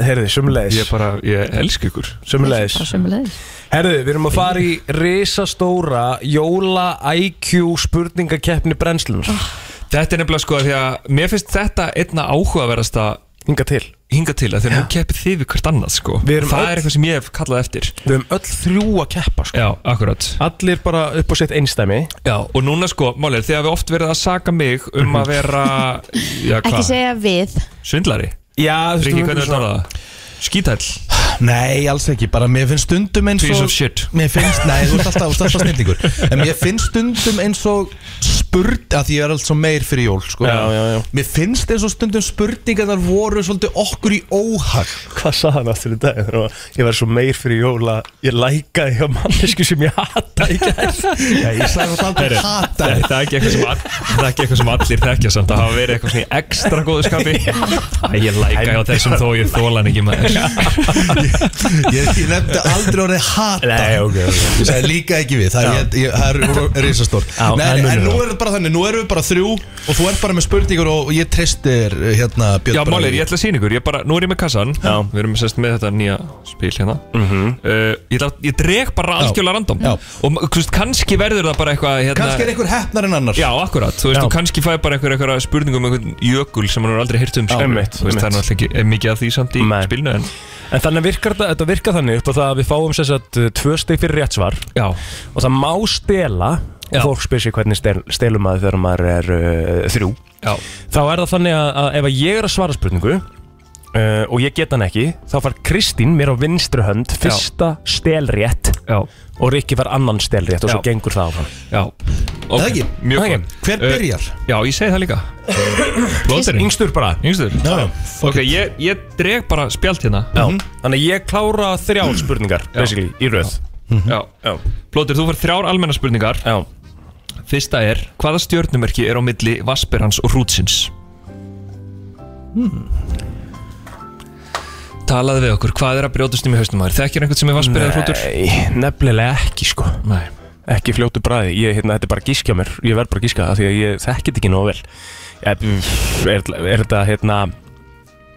heyrðu, Ég sumulegis bara, ég elsku ykkur Sumulegis Bara sömuleiðis. Herðu, við erum að fara í risastóra jóla IQ spurningakeppni brennslunar Þetta er nefnilega sko, því að mér finnst þetta einna áhugaverðast að Hinga til hinga til að því að nú keppið þið við hvert annað sko Við erum Það öll- er eitthvað sem ég hef kallað eftir Við höfum öll þrjú að keppa sko Já, akkurat Allir bara upp á sitt einstæmi Já, og núna sko, málið, er, þið hafið oft verið að saka mig um að vera, já Ekki hvað, segja við svindlari Já, þú Rikki, við hvernig er erum svona- þetta það? Skítæll Nei, alls ekki, bara mér finnst stundum eins Piece og of shit. Mér finnst, nei, þú ert alltaf, þú ert alltaf snillingur En mér finnst stundum eins og spurt að því ég er alltaf meir fyrir jól sko. Já, já, já. Mér finnst eins og stundum spurningarnar voru svolítið okkur í óhag Hvað sað hann aftur í dag? Ég var svo meir fyrir jóla Ég lækaði hjá mannesku sem ég hatt þetta í gær Nei, ég sagði það aldrei Heyrðu, hata Nei, það er ekki eitthvað sem, all, það er ekki eitthvað sem allir þekkja samt að hafa verið eitthvað svona í ekstra góðu skapi Æ, ég læka hjá þessum þó ég þólan ekki maður ég, ég nefndi aldrei orðið hata Nei, ok, ok. Ég sagði líka ekki við Það er, ég, ég, það er risastór Já, Nei, það nei, munur En nú á. er þetta bara þannig, nú erum við bara þrjú Og þú ert bara með spurningur og, og ég treystir hérna Björn Já, Bragi. málið, er, ég ætla að sína ykkur, ég bara, nú er ég með kassan Já. Við erum sérst með þetta nýja spil hérna uh, Ég, ætla, ég dreg bara algjörlega random Já. Og þú veist, kannski verður það bara eitthvað hérna, Kannski er einhver hefnar en annar Já, akkurat, þú veist, Já. og kannski fæði bara einhver, einhver spurning um einhvern jökul sem hann er aldrei hirt um skilur. einmitt, Þú veist, það er einmitt. náttúrulega ekki er mikið að því samt í Nei. spilinu en, En þannig virkar þetta, þetta virkar þannig upp á það að við fáum sér satt tvö steg fyrir rétt svar Já, og það má stela Já. og fólk spyr sér hvernig stel, stelum maður þegar maður er uh, þrjú. já, Þá er það þannig að, að ef að ég er að svara spurningu uh, og ég get hann ekki, þá far Kristín mér á vinstri hönd fyrsta stelrétt já, og Rikki far annan stelrétt og svo Já. gengur það áfram. já Það ekki? Mjög Það ekki? gott. Hver Eh, byrjar? Já, ég segi það líka Blóðurinn, Yngstur bara. yngstur Já, Ok, ég, ég dreg bara spjald hérna Já, þannig að ég klára þrjá spurningar, basically, í röð. Já, Já. Plóter, þú fær þrjár almennar spurningar Já. Fyrsta er, hvaða stjörnumerki er á milli Vasperhans og Hrútsins? Hmm. Talaðu við okkur, hvað er að brjótast um í haustum maður? Þekkir einhvern sem er Vasper eða Hrútur? Nei, nefnilega ekki sko. Nei Ekki fljótu bræði, ég, hérna, þetta er bara að gískja mér Ég verð bara að gíska það því að ég þekki þetta ekki nógu vel ég, er, er þetta, hérna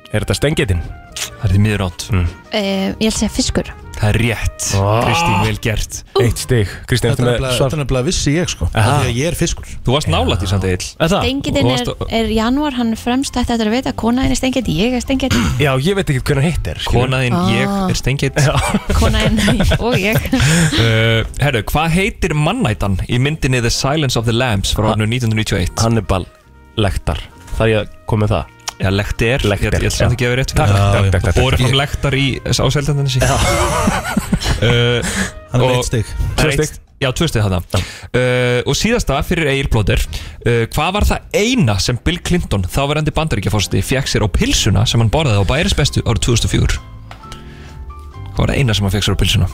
Er þetta stengitin? Það er því miður átt Eh, Ég held að segja fiskur Það er rétt, Mm. Ah. Kristín, vel gert Eitt stig, Kristján, Þetta ertu er með nefnilega- þetta svar er nefnilega vissi ég sko af Aha. Því að ég er fiskur Þú varst nálætt í samt eil Eða? Stengitinn Ah, og er, varstu- er janúar, hann er fremst ætti eftir að vita að Kona henni stengit, ég er stengit (laughs) Já, ég veit ekki hvernig hitt er skilur. Konaðinn, Ah. ég er stengið (laughs) Kona henni og ég uh, Herru, hvað heitir mannætan í myndinni The Silence of the Lambs frá árinu 1991? Hannibal Lektar Það er ég að koma með það Já, lektir, Lekter, ég, ég ætla samt já. ekki að gefa rétt fyrir Takk, það. takk, takk, takk, Bóri fram lektar í áseldandinni sín uh, Hann er Og- með eitt stig Tvö eitt- stygg. Já, tvö stygg þarna uh, Og síðasta fyrir Egil Blóter uh, Hvað var það eina sem Bill Clinton þáverandi bandaríkjafórseti fekk sér á pilsuna sem hann borðaði á bæris bestu árið 2004 Hvað var það eina sem hann fekk sér á pilsuna?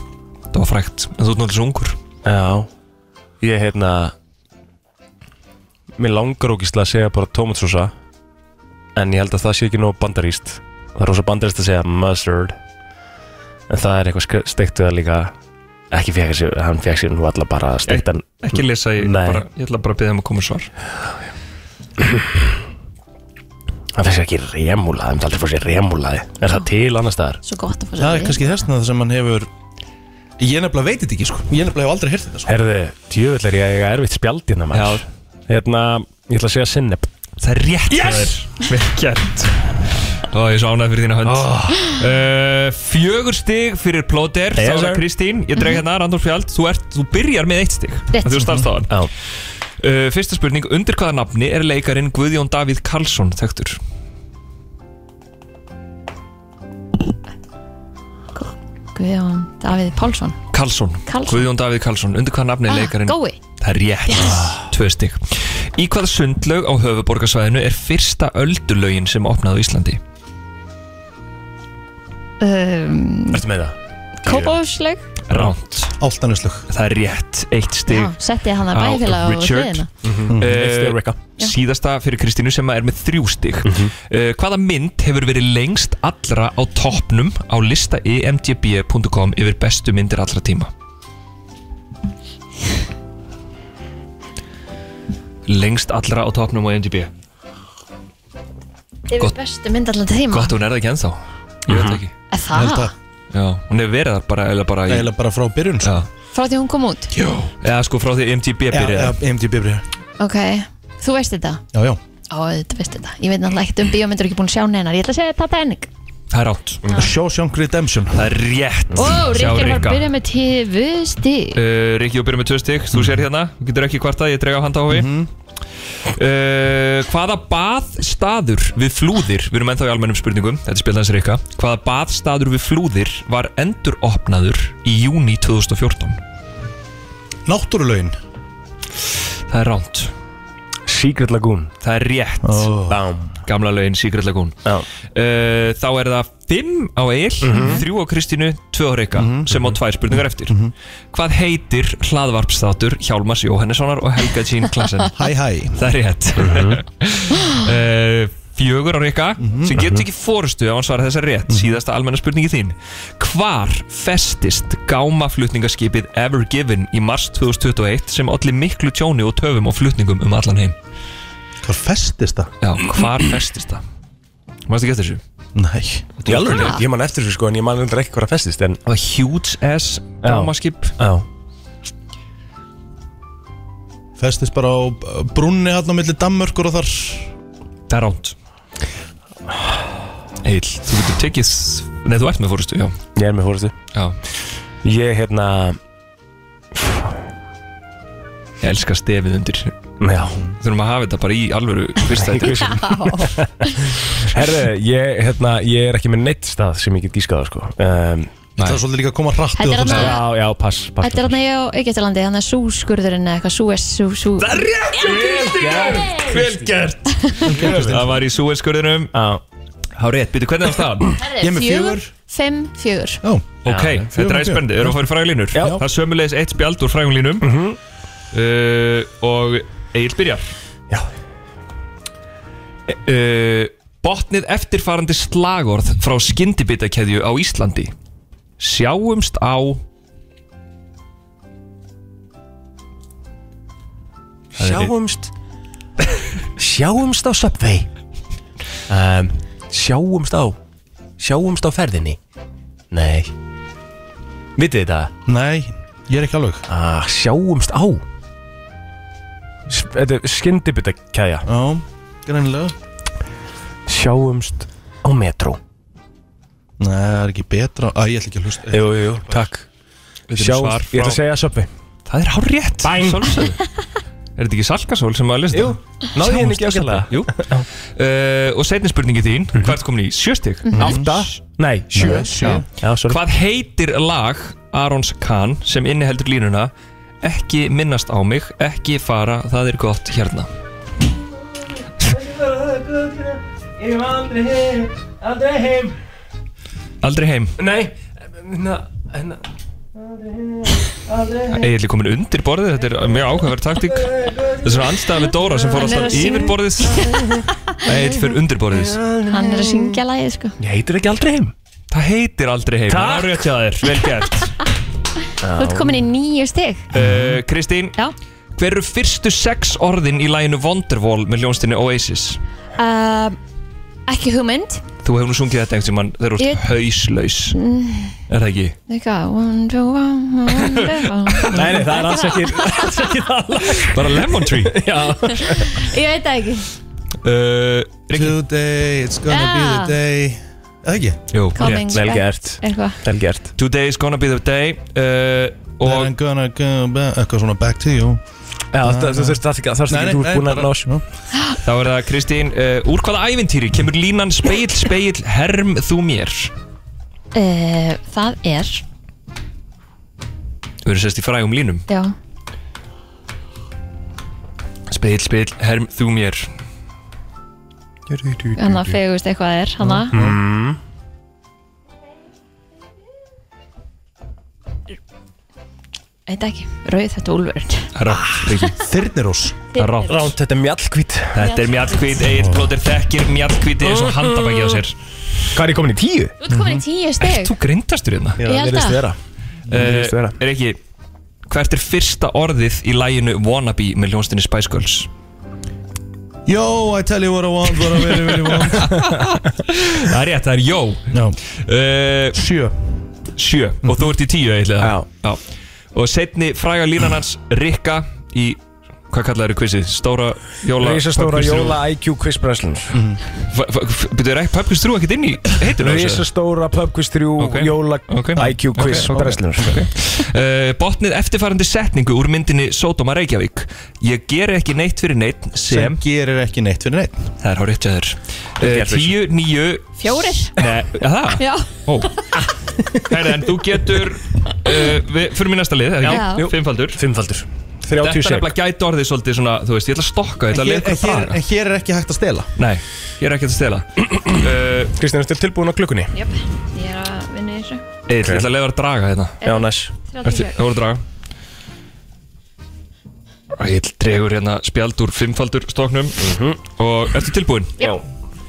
Það var frægt, en þú ert náttúrulega svo ungur Já Ég, hérna Mér langar ógislega að segja bara tomatsósa En ég held að það sé ekki nógu bandaríst Það er rosa bandaríst að segja mustard En það er eitthvað steikt við það líka Ekki fekk sér, hann fekk sér nú alla bara steiktan Ekki lesa, ég, Nei. bara, ég ætla bara að byrja um að koma með svar Hann fekk sér ekki remúlaði, hann aldrei fór sér remúlaði Er það til annars staðar? Svo gott að fá Það sér er því. kannski þessna það sem hann hefur Ég nefnilega veit þetta ekki sko Ég nefnilega hef aldrei hirt þetta sko Herði, djöfull er ég að eiga erfitt spjald hérna maður Hérna, ég ætla að segja sinneb Það er rétt Yes! hjá þér. Vel gert Ó, ég er svo ánægð fyrir þína hönd uh, Fjögur stig fyrir plóter Yes, Þá er sir. það Kristín, ég dreg hérna Randolf Fjald Þú, ert, þú byrjar með eitt stig Rétt. af því Þú starfst á hann Já, uh, Fyrsta spurning, undir hvaða nafni er leikarinn Guðjón Davíð Karlsson þekktur? sko. Guðjón Davíð Pálsson Karlsson, Karlsson. Ah, Guðjón Davíð Karlsson Undir hvaða nafni er leikarinn? Gói Það er rétt, tvö stig Í hvaða sundlaug á höfuborgarsvæðinu er fyrsta öldulaugin sem opnaði á Íslandi? um, ertu með það? Kópáslaug Ránt, Áltanuslug það er rétt, eitt stig Já, setti ég hann að Á bæðfélag á Richard. hliðina uh, Rikka Já. síðasta fyrir Kristínu sem er með þrjú stig uh, Hvaða mynd hefur verið lengst allra á toppnum á lista E imdb.com yfir bestu myndir allra tíma? Lengst allra á toppnum á E imdb Yfir Gott. bestu mynd allan til tíma Gott, hún er það ekki ennþá Ég veit það ekki Er Ég held Það, að- Já, hún hefur verið það bara, eða bara Það er í, eiginlega bara frá byrjun sko Já, frá því hún kom út Já, eða sko frá því imdb já, byrjaði já, IMDb byrja Ok, þú veist þetta Já, já Ó, þetta veist þetta Ég veit náttúrulega ekkert um bíómyndur ekki búin að sjá neinar Ég ætla að segja Titanic Það er rátt Shawshank Redemption Það er rétt Ó, Sjá, Rikki var að Rikka. byrja með TV stig uh, Ríkki og byrjum með tvö stygg, þú sér hérna þú getur ekki kvartað, ég dreg á handahófi mm Hvaða baðstaður við flúðir við erum ennþá í almennum spurningum, þetta er spilans Ríkka Hvaða baðstaður við flúðir var enduropnaður í júni 2014 Náttúrulegin Það er ránt Secret Lagoon Það er rétt Bám Gamla lögin Secret Lagoon Já. uh, Þá er það 5 á Egil 3 á Kristínu, 2 á Rika sem á tvær spurningar eftir Hvað heitir hlaðvarpsþáttur Hjálmars Jóhannessonar og Helga Jean Klassen? Hæ hæ það er rétt (laughs) uh, Fjögur á Rika sem getur ekki fórustu ef hann svarar þessa rétt síðasta almenna spurningi þín Hvar festist gámaflutningaskipið Ever Given í mars 2021 sem olli miklu tjóni og töfum og flutningum um allan heim? Hvað festist það? Já, hvar festist það? Mástu ekki eftir þessu? Nei Ég alveg neitt, ég man eftir þessu sko en ég man aldrei ekki hvað það festist en Það var huge ass Já. gámaskip Já Festist bara á uh, brúnni hann á milli dammörkur og þar Það er ránt Eil, þú getur tekið Nei, þú ert með fórustu, já, Ég er með fórstu já. Ég hérna Ég elska stefið undir Já Þurfum að hafa þetta bara í alvöru fyrst þetta Herðu, ég, hérna, ég er ekki með neitt stað sem ég get gískað á sko um, Það er svolítið líka að koma hratt Þetta er og hann þannig. að- Já, já, pass, pass Þetta er hann ég á Egyptalandi, hann er súskurðurinn eða eitthvað, súes, sú, sú Vel gert Það var í súelskurðinum Já, Há rétt, byrju, hvernig var það? Herri, Ég er með fjögur. Fimm, fjögur Já, Ok, þetta er fjögur. spennandi, erum við að fara í frægulínur Já. Það er sömulegis eitt spjald úr frægulínum uh, Og Egil byrjar já uh, Botnið eftirfarandi slagorð frá skyndibitakeðju á Íslandi Sjáumst á Sjáumst Sjáumst á Subway um, Sjáumst á Sjáumst á ferðinni Nei Vitið þetta? Nei, ég er ekki alveg Ah, sjáumst á S- Þetta er skyndibita kæja Já, greinilega Sjáumst á metro Nei, það er ekki betra Æ, ég ætla ekki að hlusta Jú, jú, jú, takk Sjáumst, ég ætla að segja Subway Það er hár rétt Er þetta ekki Salkasól sem að lista? Jú, náðu henni ekki Sjáumst á Mhm. ástæðlega Jú uh, Og setni spurningi þín, hvert komin í sjöstig? Átta, nei, sjö sjö. Já, sorry Hvað heitir lag Arons Kahn sem inniheldur línuna Ekki minnast á mig, ekki fara, það er gott hérna Aldrei heim Nei, na, na, Egil er komin undir borðið, þetta er mjög áhugaverð taktík Það er svona anstæða við Dóra sem fór Hann er að alltaf syngja. yfir borðið Egil fyrir undir borðið Hann er að syngja lagið sko ég heitir ekki aldrei heim Það heitir aldrei heim Takk. Það er rétt hjá þér, vel gert Þú ert komin í nýju stig uh, Kristín, Já hver eru fyrstu sex orðin í læginu Wonderwall með ljónstinni Oasis? uh, Ekki hugmynd Þú hefur nú sungið þetta einhvern tímann þegar þú ert Ég- Mm. hauslaus Er það ekki? Eitthvað One, two, one, one, (laughs) two, one. (laughs) Nei, nei, (laughs) það er alls ekki Bara Lemon (laughs) Tree Ég veit það ekki uh, Rikki Today, it's gonna Já. be the day Eða ekki? Jú, Coming rétt. Vel back, gert. Eitthvað Vel gert Today is gonna be the day uh, Og Og I'm gonna go back Eitthvað svona back to you Já, það þurft ekki að þarst ekki úr búin að ná Já. þá er það Kristín uh, Úr hvaða ævintýri kemur línan speill, speill, herm þú mér? uh, Það er Þú verður sérst í frægum línum Já Speill, speill, herm þú mér Hann að fegust eitthvað er Hann að Mm-hmm. Veit ekki Rauð þetta úlfur Ah, Rátt, Rikki Þyrnirós Rátt Ránt, þetta er mjallkvít Þetta er mjallkvít, Egil Plóter þekkir mjallkvíti eins Mm, og handabæki á sér Hvað er ég komin í tíu? Þú ert Mhm. komin í tíu Ert stig þú grindastur hérna? Ég held virðist að. vera. virðist vera. Eh, er ekki Hvert er fyrsta orðið í læginu Wannabe með hljónstinni Spice Girls? Yo, I tell you what I want, what I really, really want Það er rétt, það er jó (laughs) Já, uh, sjö Sjö, og þú ert í tíu eiginlega Já. Og setni fræga línan hans Rikka í, hvað kallar þér quizið? Stóra jóla Rísastóra pubquiz þrjú. jóla IQ quiz brenslan F- f- f- Byrju, er ekki Pöpkvist 3 ekkert inn í heitinu? Rísastóra pubquiz 3 Ok. jóla Ok. IQ quiz Ok. brenslan Uh, botnið eftirfarandi setningu úr myndinni Sódóma Reykjavík Ég ger ekki neitt fyrir neitt sem Sem gerir ekki neitt fyrir neitt Það er hár rétt hjá þér Rétt Eh, hjá þér. Tíu, níu (laughs) Fjórir. Nei, ja, það? Já Ó Herri, en þú getur uh, Fyrir mér næsta lið, er það Já. ekki? Fimmfaldur Fimmfaldur Þetta er 30 sek nefnilega gæti orðið svolítið svona, þú veist, ég ætla að stokka, ég ætla að hér, leið ykkur en að hér, braga en hér er ekki hægt að stela Nei, ég er ekki að stela (clears throat) uh, Kristján, ertu tilbúin á klukkunni? Jöp, ég er að vinna í þessu Egill, Ég ætla að leiða að draga hérna Já, næs Ertu, 36. þú voru að draga Egill dregur hérna spjald úr fimmfaldur stoknum Og ertu tilbúinn? Já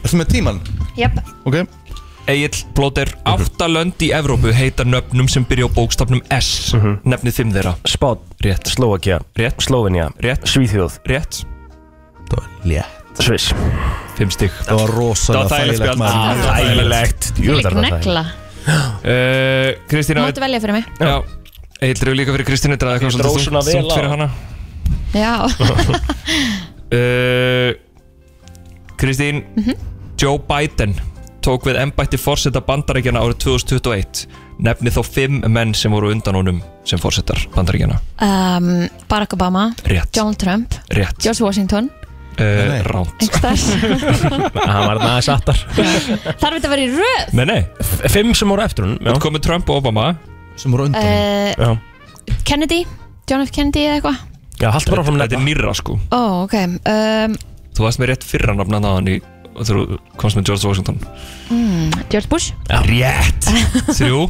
Ertu með tíman? Jöp, Ok Egil Blóter, átta lönd í Evrópu heita nöfnum sem byrja á bókstafnum S Nefnið fimm þeirra Spán Rétt. Slóakia Rétt. Slóvenja Rétt. Svíþjóð Rétt, Létt Sviss fimm stygg Það var Það var rosalega þægilegt spjald. Ah. þægilegt maður Þægilegt þú Jú, leik það er það negla uh, Kristína Máttu velja fyrir mig Já, Egil dregur líka fyrir Kristínu Draði Ég eitthvað dró svolítið svona þungt- þungt vel á. fyrir hana Já, (laughs) Uh, Kristín Joe Biden tók við embætti forseta bandaríkjana árið 2021 nefni þó fimm menn sem voru undan honum sem forsetar bandaríkjana um, Barack Obama Rétt, Donald Trump rétt George Washington uh, Nei. Ránt einhvers (laughs) staðar. Það var næs aftar Þarf þetta að vera í röð Nei, nei, Fimm sem voru eftir hún þú komið Trump og Obama Sem voru undan uh, Já Kennedy John F. Kennedy eða eitthvað Já, haldt bara fram Þetta er nýra sko Ó, ok um, Þú varst með rétt fyrra nafna náðan í og þú komst með George Washington George Bush Rétt Þrjú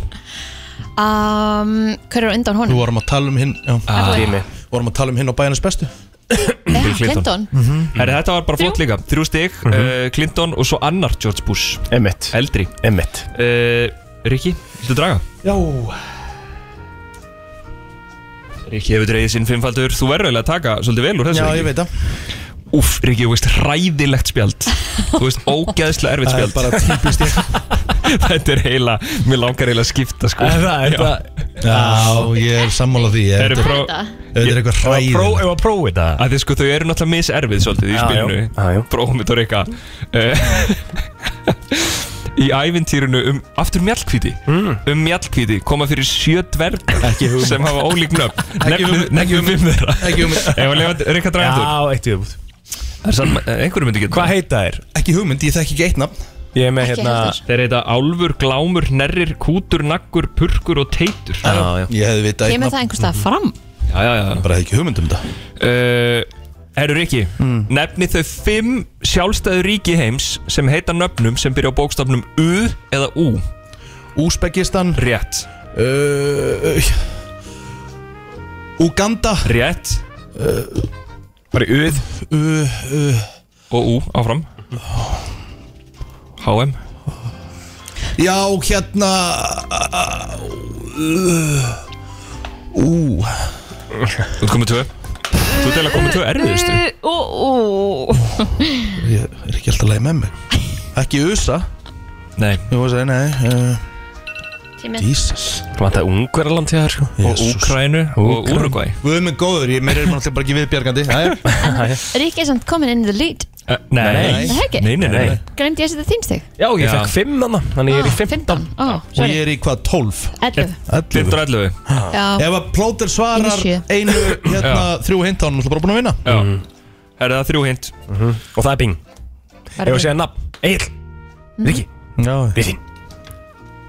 um, Hver er undan Nú honum? vorum að tala um hinn já, ah, Tími Vorum að tala um hinn á bæjarnas bestu Bill Clinton. Eh, Clinton Herri, Þetta var bara flott Þrjú. líka Þrjú stig, uh, Clinton og svo annar George Bush Emmett Eldri Emmett uh, Rikki, viltu draga? Já Rikki hefur dreigðið sinn fimmfaldur Þú verður eiginlega að taka svolítið vel úr þessu Já, ég veit það Úf, Rikki, þú veist hræðilegt spjald Þú veist ógeðslega erfitt Það er spjald bara típist ég (laughs) Þetta er heila, mér langar heila að skipta sko er Já. Já, ég er sammála því Ég- Eru pró- Þetta. Þetta er eitthvað Próf, hræðin ef að prófi þetta að þið sko þau eru náttúrulega miserfið svolítið í Já, já. Já, já. spilinu Bróðum við tóra eitthvað (laughs) Í ævintýrinu um, aftur mjallkvíti Hmm. Um mjallkvíti koma fyrir sjö dvergar Sem hafa ólík (laughs) nöfn Nefnum nefnum fimm þeirra Ekki hugmynd Ef að lefa Rikka Já, dragandur eitt viðbútt Einhverjum Eh, myndi geta Hvað heita þér? Ekki hugmynd, ég þekki ekki eitt nafn Ég er með Ekki hérna heldur. Þeir heita álfur, glámur, nerrir, kútur, naggur, purkur og teitur Já, já Ég hefði vitað eitt Kemur nafn það einhvers stað fram? já, já, já. Bara hefði ekki hugmynd um þetta Uh, Erur ekki, nefni þau fimm sjálfstæðu ríki heims sem heita nöfnum sem byrja á bókstafnum U eða U Úsbekistan Rétt, uh, Uganda rétt Eh. Bara í uð uh, uh, og U áfram HM Já, hérna Ú uh, uh, Þú ert komið tvö Þú ert eiginlega komið tvö erfiðustu Ú, ú, ú. Ég er ekki alltaf leið með mig Ekki USA Nei, Ég var að segja, nei uh, Tíminn. Jesus Það vantar ungverðarland hjá þér sko og Úkrænu og Úkraínu. Úrugvæ Við erum góður, ég meira er maður alltaf bara ekki viðbjargandi Æ, Rík er samt komin in the lead Nei, Eh, nei, Nei. Það ekki? nei, nei, nei. Nei. Glemdi ég að setja þín stig? Já, ég Já. fekk fimm þannig Þannig ég er í Ah, fimm 15 Ó, Og ég sorry er í hvað, 12 11 11 15 og 11 Já, Ef að plóter svarar Ég einu, hérna, þrjú hint á hann, bara búin að Mm. vinna Já, herri það þrjú hint Og það er bing Ef bara ég segja nafn Egil Mhm. Riki Já, Við þín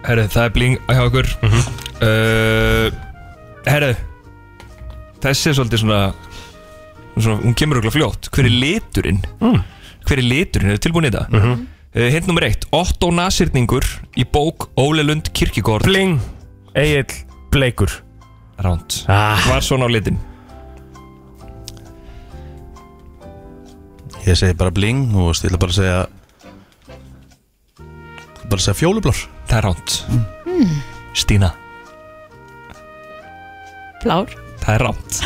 Herru, það er bling hjá okkur mm Herru Þessi er svolítið svona, svona Hún kemur okkur fljótt Hver er liturinn? Hver er liturinn? Er tilbúin í þetta? Mm -hmm. hint nummer eitt Otto Nasirningur í bók Óle Lund Kirkigård Bling Egil Bleikur Ránt ah. Var svona á litin Ég segi bara bling og veist, ég ætla bara að segja bara að segja fjólublár Það er ránt Stína blár Það er rámt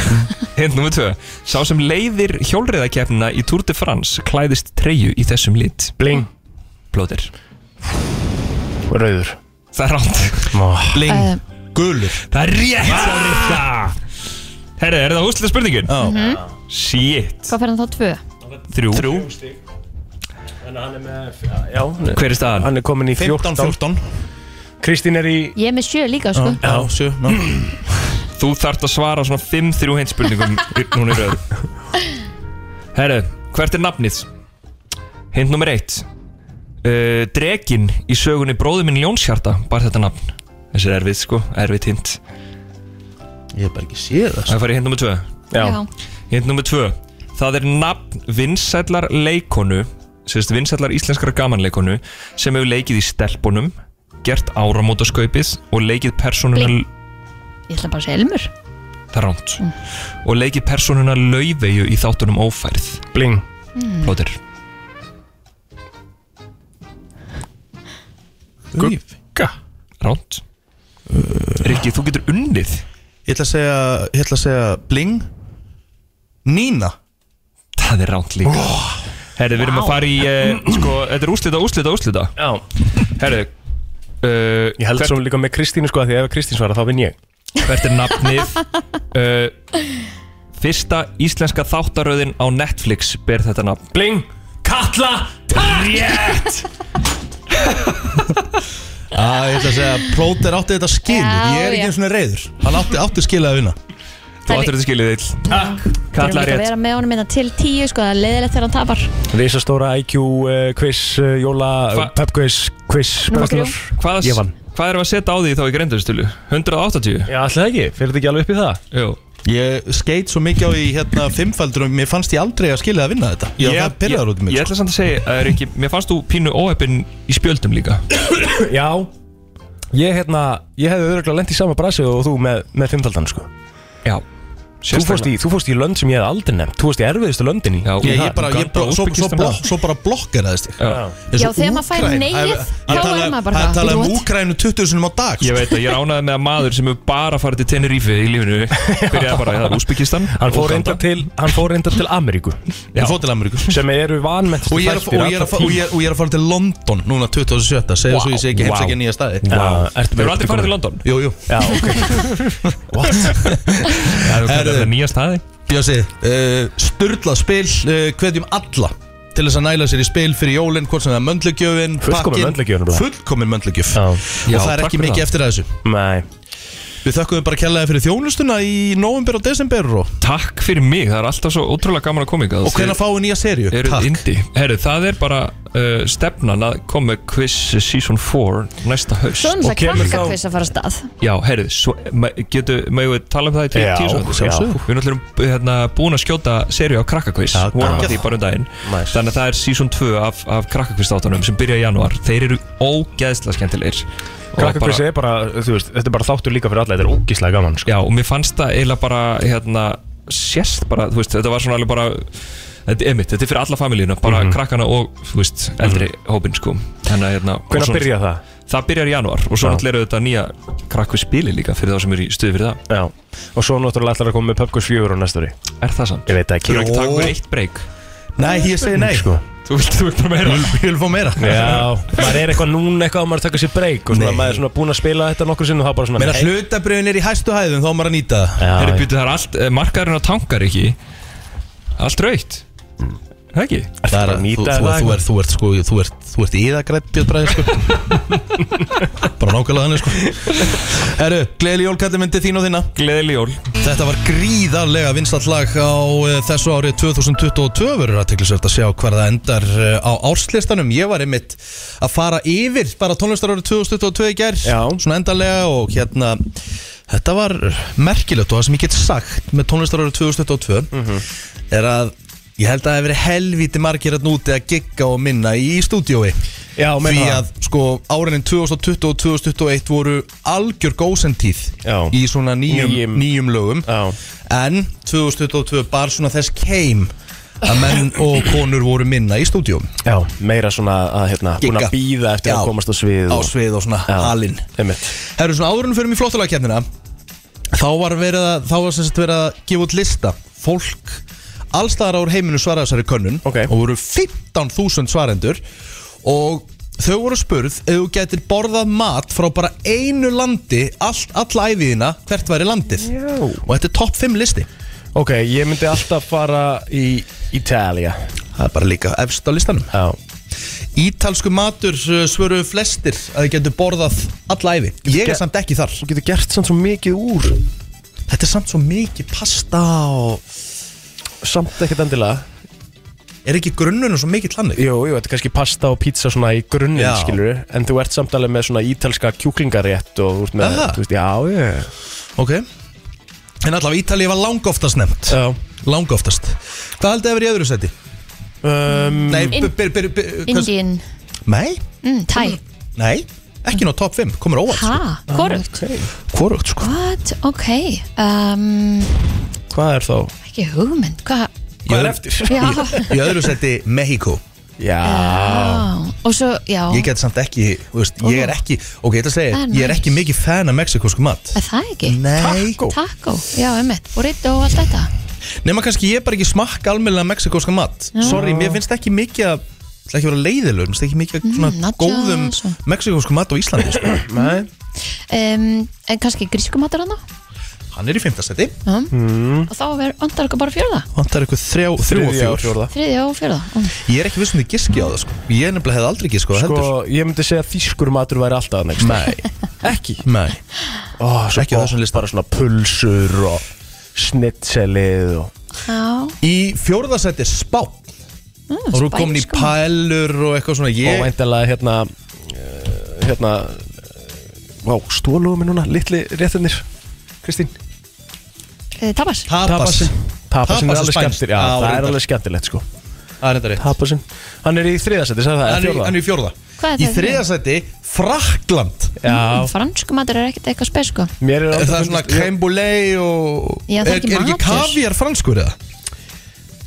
Hint nummer tvö Sá sem leiðir hjólriðakefnina í Tour de France klæðist treyju í þessum lit Bling Blóðir Rauður Það er rámt Bling, Eh. gulur Það er rétt ah! Herri, er það úslega spurningin? Já, Mhm. Shit Hvað fer hann þá? Tvö Þrjú. Þrjú Þannig að hann er með Já Hver er staðan? Hann er komin í 15, 14 14 Kristín er í Ég er með sjö líka, sko Já, 7 já. Þú þarft að svara á svona 5-3 hint spurningum í- Núna í röð Herri, hvert er nafnið? Hint nummer 1 uh, Dregin í sögunni bróður minn Ljónshjarta Bar þetta nafn Þessi er erfið sko, erfið hint Ég hef bara ekki séð það sko. Það fari hint nummer 2 Ah, Já. Hint nummer tvö Það er nafn vinsællar leikonu sérst vinsællar íslenskara gamanleikonu sem hefur leikið í stelpunum gert áramótaskaupið og leikið persónuna Blink. Ég ætla bara að segja Ilmur það er rámt og leikið persónuna laufeyju í þáttunum ófærð Bling plóðir Gugga rámt Rikki, þú getur unnið Ég ætla að segja, ég ætla að segja Bling Nína það er rámt líka oh. herru, við erum að fara í eh, sko, þetta er úslita, úslita, úslita Já herru Uh, Ég held svo líka með Kristínu sko að því ef Kristín svara þá vinn ég hvert er nafnið uh, fyrsta íslenska þáttaröðin á Netflix ber þetta nafn Bling Katla Rétt Æ, ég ætla að segja Plóter átti þetta skil Já, Ég er já. ekki eins og reyður Hann átti, átti skil að vinna þú áttur þetta skilið þill Þurfum kalla líka að rétt vera með honum innan til tíu sko, það er leiðilegt þegar hann tapar Risa stóra IQ uh, quiz, uh, jóla, Hva- uh, pep quiz, quiz Númer bæðslunar. hvað, Ég vann. hvað erum við að setja á því þá í greindarstölu 180 Já, alltaf ekki, fyrir þetta ekki alveg upp í það? Jú. Ég skeit svo mikið á í hérna fimmfældur og mér fannst ég aldrei að skilja að vinna þetta Ég var það byrjaður út í mig Ég sko. ætla samt að segja, að Rikki, mér fannst þú pínu óheppin í spjöldum líka Já Ég, hérna, ég hefði öðruglega lent í sama brasi og þú með, með fimmtaldan sko. Já þú, fórst í, þú fórst í lönd sem ég hef aldrei nefnt Þú fórst í erfiðustu löndin í Já, Ég, ég bara, ég Uganda, bara, svo, svo, Úsbekistan. blokk, svo bara blokkeraðist ég Já. Eins Já, og þegar maður fær Úkraín- neyið, Að- þá að er tala- maður bara, Að tala um "Þú ert-" Úkrænu 20 sinum á dag sko. Ég veit að ég ránaði með að maður sem hefur bara farið til Tenerife í lífinu Byrjaði bara í það Úsbyggistan Hann fór reynda til, hann fór reyndar til Ameríku Ég fór til Ameríku sem eru vanmenntustu Og ég er að- og ég er að fa- og ég er- og ég er að fara til London núna 2017 Segðu svo ég sé ekki Wow. heimsækja nýja staði Já, ertu Við erum aldrei farið til London Jú, jú Já, ok Það Herðu. er nýja staði Bjössi, uh, styrla spil uh, hvetjum alla til þess að næla sér í spil fyrir jólinn, hvort sem það er möndlugjöfin Fullkomin möndlugjöf, nefnilega. fullkomin möndlugjöf Já. og Já, það er takk ekki fyrir mikið það. eftir að þessu Nei, við þökkum bara kjallaði fyrir þjónustuna í november og desember og, Takk fyrir mig, það er alltaf svo ótrúlega gaman að koma í og hvenær fáum við nýja serju Eru Takk. indi Herru, það er bara uh, stefnan að koma með quiz season 4 næsta haust Svo er Og kemur náttúrulega þá- krakkakviss að fara af stað Já, herru, svo, ma- getu, maður við tala um það í tíu, Já, tíu sekúndur? sjálfsögðu. Við erum alltaf hérna, búin að skjóta serið á krakkakvís Já, vorum að geggjað. því bara um daginn Nice. Þannig að það er season 2 af, af krakkakvís þáttunum sem byrja í janúar Þeir eru ógeðslega skemmtilegir Og krakkakvissi bara- er bara, þú veist, þetta er bara þáttur líka fyrir alla Þetta er ógíslega gaman, sko Já, og mér fannst það eiginlega bara hérna, sérst bara, þú veist, þetta var svona alveg bara Þetta er mitt, þetta er fyrir alla familíuna, bara krakkana og, þú veist, eldri hópinn, sko Þannig að, hérna, og Hvernig svona- byrja það? Það byrjar í janúar og svo Já. náttúrulega eru þetta nýja krakkvísspili líka fyrir þá sem eru í stuði fyrir það Já, og svo náttúrulega ætlar að koma með PubQuiz 4 á næsta ári Er það sann? Ég veit það Þú ekki eru ekki að taka Jó. okkur eitt breyk nei, ég segi nei Sko. Þú vilt, þú vilt bara meira ég vil fá meira Já, maður er eitthvað núna eitthvað og maður taka sér breyk og svona, Nei. maður er svona búin að spila þetta nokkur sinn og það bara svona meina hlutabriðin er í hæstu hæðum þá á maður að nýta það Já, Þeir já. byrjuð það er allt, eh, markaðurinn á tankar ekki Allt raukt Það ekki? Það er bara að að- þú, nýta þú, það þú, er, þú ert sko, þú ert, þú ert íðagrætt Björn Bræði sko (laughs) bara nákvæmlega þannig sko Herru, gleðli jólkattir myndi þín og þína Gleðileg jól Þetta var gríðarlega vinstall lag á eh, þessu árið 2022 verður aðteklisvert að sjá hvar það endar eh, á árslistanum. Ég var einmitt að fara yfir bara tónlistar árið 2022 í gær, Já. svona endarlega og hérna, þetta var merkilegt og það sem ég get sagt með tónlistar árið 2022 Mhm. er að ég held að það hefur verið helvíti margir að núti að gigga og minna í stúdiói Já, meina því það. að sko árinin 2020 og 2021 voru algjör gósentíð Já. í svona nýjum, Nýjum. nýjum lögum Já. en 2022 bar svona þess keim að menn og konur voru minna í stúdíum Já, meira svona að hérna, búin Gigga. að býða eftir Já. að komast á svið á svið og svona Já. alinn Einmitt. Herru, svona áðurinn fyrir mig flottalagkjæmnina þá var verið að þá var sem sagt verið að gefa út lista fólk allstaðar ár heiminu svaraði þessari könnun Ok. og voru 15.000 svarendur og þau voru spurð ef þú getur borðað mat frá bara einu landi allt, all æfiðina hvert væri landið Já. og þetta er topp 5 listi Ok, ég myndi alltaf fara í Ítalja það er bara líka efst á listanum Já, Ítalsku matur uh, svöruðu flestir að þið getur borðað all æfi ég er samt ekki þar þú getur gert samt svo mikið úr þetta er samt svo mikið pasta og Samt ekkert endilega er ekki grunnunum svo mikið tlannig Jú, jú, þetta er kannski pasta og pizza svona í grunninn, Já. skilur En þú ert samt alveg með svona ítalska kjúklingarétt og þú veist með, Aha. þú veist, já, já Ok En allavega Ítalið var langoftast nefnt Já Langoftast Hvað haldið að vera í öðru seti? um, Nei, In- byr, byr, byr, byr, hvað- Indín, Nei, mm, Thai nei Ekki ná top 5, komur óvart Ha, sko. hvorugt Hvorugt sko What, ok um, Hvað er þá? Ekki hugmynd, hvað Hvað er eftir? Já, Í öðru seti Mexico Já já. og svo, já Ég get samt ekki, þú veist, ég er ekki Ok, ég ætla að segja, Það er ég er nice. ekki mikið fan af mexikosku mat Er það ekki? Nei, Taco, já, einmitt, burrito og allt þetta nema kannski ég bara ekki smakka almennilega mexikoska mat Já. Sorry, mér finnst ekki mikið að Það er ekki að vera leiðilegur, mér finnst ekki mikið að svona Mm, nachos góðum og- mexikosku mat á Íslandi sko. Nei um, En kannski grískumatur hann Hann er í fimmtastæti, Mm. Og þá er andar okkur bara fjörða vantar ykkur þrjá, þrjú og Þriðja og fjór fjórða Þriðja og fjörða mm. Ég er ekki vissum þið giski á það sko. Ég nefnilega hefði aldrei giski á það Sko, heldur ég myndi segja að þýskur matur væri alltaf next Nei, Ekki nei Ó, svo Ekki á þessum lista. Bara svona pulsur og snitselið og Já, Mm, Í fjórðasæti spá Og þú erum komin í spænsk mat. pælur og eitthvað svona Og Ég, væntalega hérna eh, Hérna Vá, stóluðu mig núna, litli réttinir Kristín Eh, tapas tapas Tapasinn Tapas er er alveg spænskt. skemmtilegt Já, Já, það er reyndar. alveg skemmtilegt sko Það er þetta rétt Tapasinn Hann er í þriðasæti, sagði það, Hann eða er í- fjórða hann er í fjórða Hvað er Í það? þriðasæti Frakland Já, Franskumatur Mm, er ekkert eitthvað spes sko mér er Er aldrei það svona fundist- creme brulee og Já, það er er, ekki er ekki matur. kaviar franskur eða?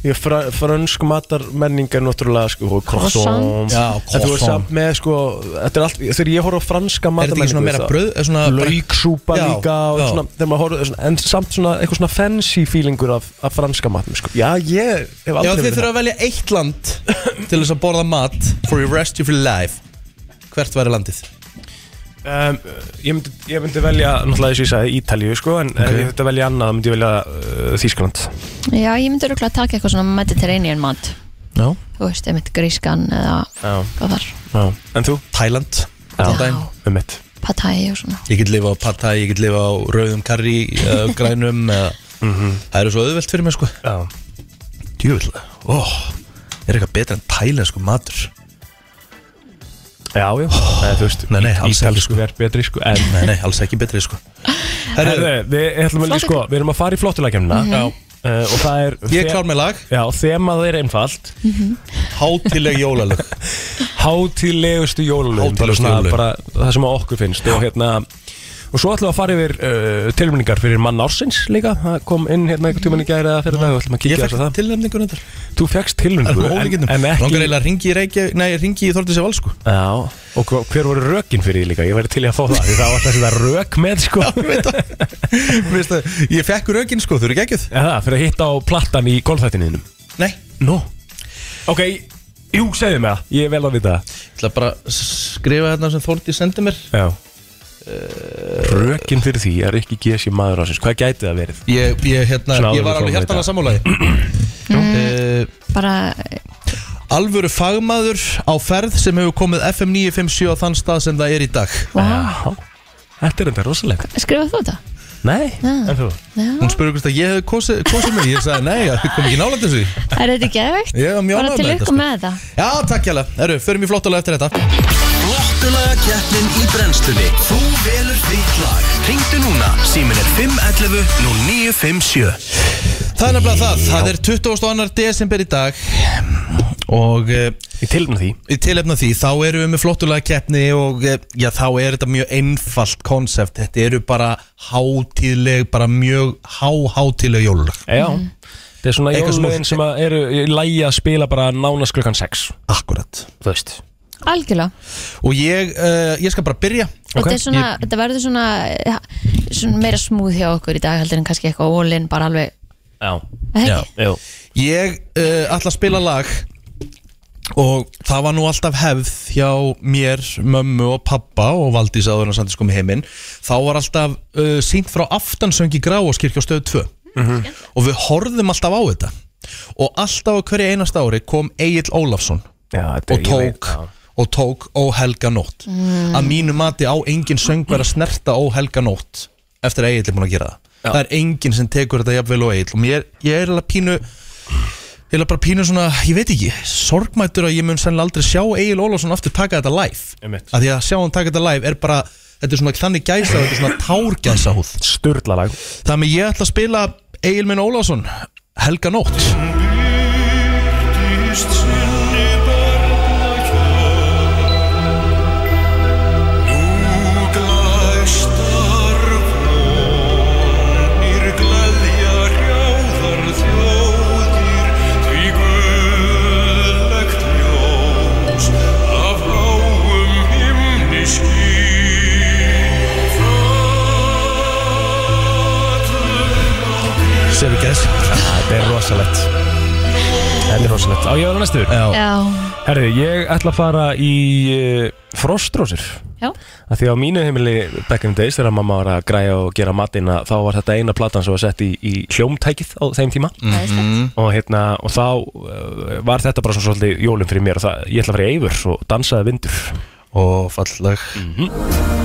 Ég fra, fransk matar menning er náttúrulega sko, croissant Já, En þú croissant. veist samt með sko Þetta er allt, þegar ég horf á franska Er þetta ekki svona meira bröð? er Svona Lauksúpa Já, líka og já. svona, þegar maður horfður, svona, en samt svona eitthvað svona fancy feelingur af, af franska matnum sko. Já, ég hef Já, aldrei þið verið þurfa það að velja eitt land til þess að borða mat for your rest of your life Hvert væri landið? um, ég, myndi, ég myndi velja, náttúrulega þess að ég sagði Ítalíu sko, en okay. ef ég þetta velja annað, þá myndi ég velja uh, Þýskaland Já, ég myndi örugglega að taka eitthvað svona mediterranean mat Já Þú veist, einmitt grískan eða Já, hvað þar já, en þú? Thailand Já. Dæm. Um mitt Pad Thai og svona Ég get lifa á pad thai, ég get lifa á rauðum (laughs) karri, uh, grænum eða Það eru svo auðvelt fyrir mig sko Já, Djúvill Ó, er eitthvað betra en thailensku matur já, já. Nei, þú veist, Oh, Nei, nei, alls ekki, ítalsku er betri sko, en Nei, nei, alls ekki betri sko Herru, Herru, við ætlum að líka sko, við erum að fara í flottulækjumna uh, og það er ég er klár með lag Já, þemað er einfalt Hátileg (laughs) jólalög Hátíðlegustu jólalögum bara, Hátíðlegustu svona jólalögin. bara það sem að okkur finnst og hérna og svo ætlum við að fara yfir uh, tilmyndingar fyrir mann ársins líka það kom inn hérna einhvern tímann í gæri eða fyrir dag og ætlum að Ég kíkja fekk þess að það tilnefningun þetta Þú fekkst tilmyndingu en, en Langar ekki eiginlega að ringi í Reykjavík Nei, ringi í Þortis Evald (laughs) sko Já, og hva- hver voru rökin fyrir því líka ég væri til í að fá það því það var alltaf þetta rök með (laughs) sko Veist það, Ég fekk rökin sko, þú eru geggjöð Já, það, fyrir að hitta á plattan í golfþættinuðinum Nei Nú Ok, jú, segðu mig það Ég er vel að vita það Ég ætla bara að skrifa þarna sem Þorti sendi mér Já Eh. Rökin fyrir því er ekki GSI maður ásins Hvað gæti það verið? Ég, ég, hérna, Svona alvöru ég var fróðleik, alveg hjartalega já. sammálaði uh, Bara, eh, Alvöru fagmaður á ferð sem hefur komið FM 957 á þann stað sem það er í dag wow. Já Þetta er enda rosalegt Skrifaðu þú þetta? Nei, en þú? Já, Hún spurði hvort að ég hefði kosið, kosið mig Ég sagði nei, það kom ekki nálægt þessu er þetta geðveikt? Ég var (laughs) mjög Bara ánægð til með þetta, ykkur sko. með þetta Já, takk hjá Herru, förum í flottalega eftir þetta Flottulaga keppnin í brennstunni Þú velur þitt lag Ringdu núna, símin er 511 0957 Það er nefnilega það, það er 22. desember í dag og uh, Ég tilnum því í tilefna því þá erum við með flottulega keppni og uh, já þá er þetta mjög einfalt konsept, þetta eru bara hátíðleg, bara mjög háhátíðleg jólulag. Já Mm. Þetta er svona Eitthvað svona- jólögin sem að eru í lægi að spila bara nánast klukkan 6 Akkurat. Þú veist Algjörlega Og ég, uh, ég skal bara byrja. Ok, Þetta, er svona, þetta verður svona, ja, svona meira smúð hjá okkur í dag heldur en kannski eitthvað ólinn bara alveg Já Hei, Já. Jú Ég uh, ætla að spila lag og það var nú alltaf hefð hjá mér, mömmu og pappa og Valdís áður en Sandís kom í heiminn þá var alltaf uh, sínt frá aftansöngi Gráaskirkja á stöðu 2 og við horfðum alltaf á þetta og alltaf á hverju einast ári kom Egil Ólafsson Já, þetta og er ég veit, tók já. og tók óhelga nótt Mm. að mínu mati á engin söngver að snerta óhelga nótt eftir að Egil er búin að gera það það er engin sem tekur þetta jafnvel og Egil og mér, ég er alveg pínu ég er alveg bara pínu svona, ég veit ekki sorgmættur að ég mun sennilega aldrei sjá Egil Ólafsson aftur taka þetta live Einmitt. að því að sjá hann taka þetta live er bara þetta er svona þannig gæsa þetta er svona tárgæsa húð Sturla lag Þannig ég ætla að spila Egil minn Ólafsson Helga Nótt Sefi Gess Þetta er rosalegt Þetta er rosalegt Á ég var næstur Já, Já, Herri, ég ætla að fara í uh, frostrósir já, að Því á mínu heimili back in the days þegar mamma var að græja og gera matinn að þá var þetta eina platan sem var sett í, í hljómtækið á þeim tíma það er slett Mm. Mhm. og, hérna, og þá uh, var þetta bara svona svolítið jólum fyrir mér og það, ég ætla að fara í Eivur og dansaði vindur og falleg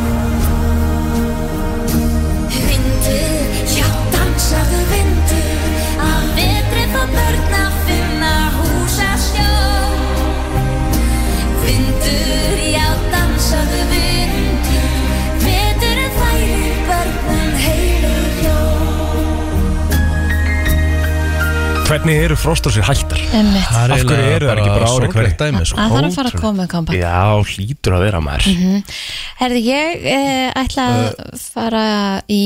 Hvernig eru frostrósir hættar? Einmitt. er Af hverju eiginlega eru þær ekki bara á ári hverju? sorglegt dæmi, sko. Það þarf að fara að koma með kompakt Já, hlýtur að vera maður Mhm. Herði, ég eh, ætla að Uh, fara í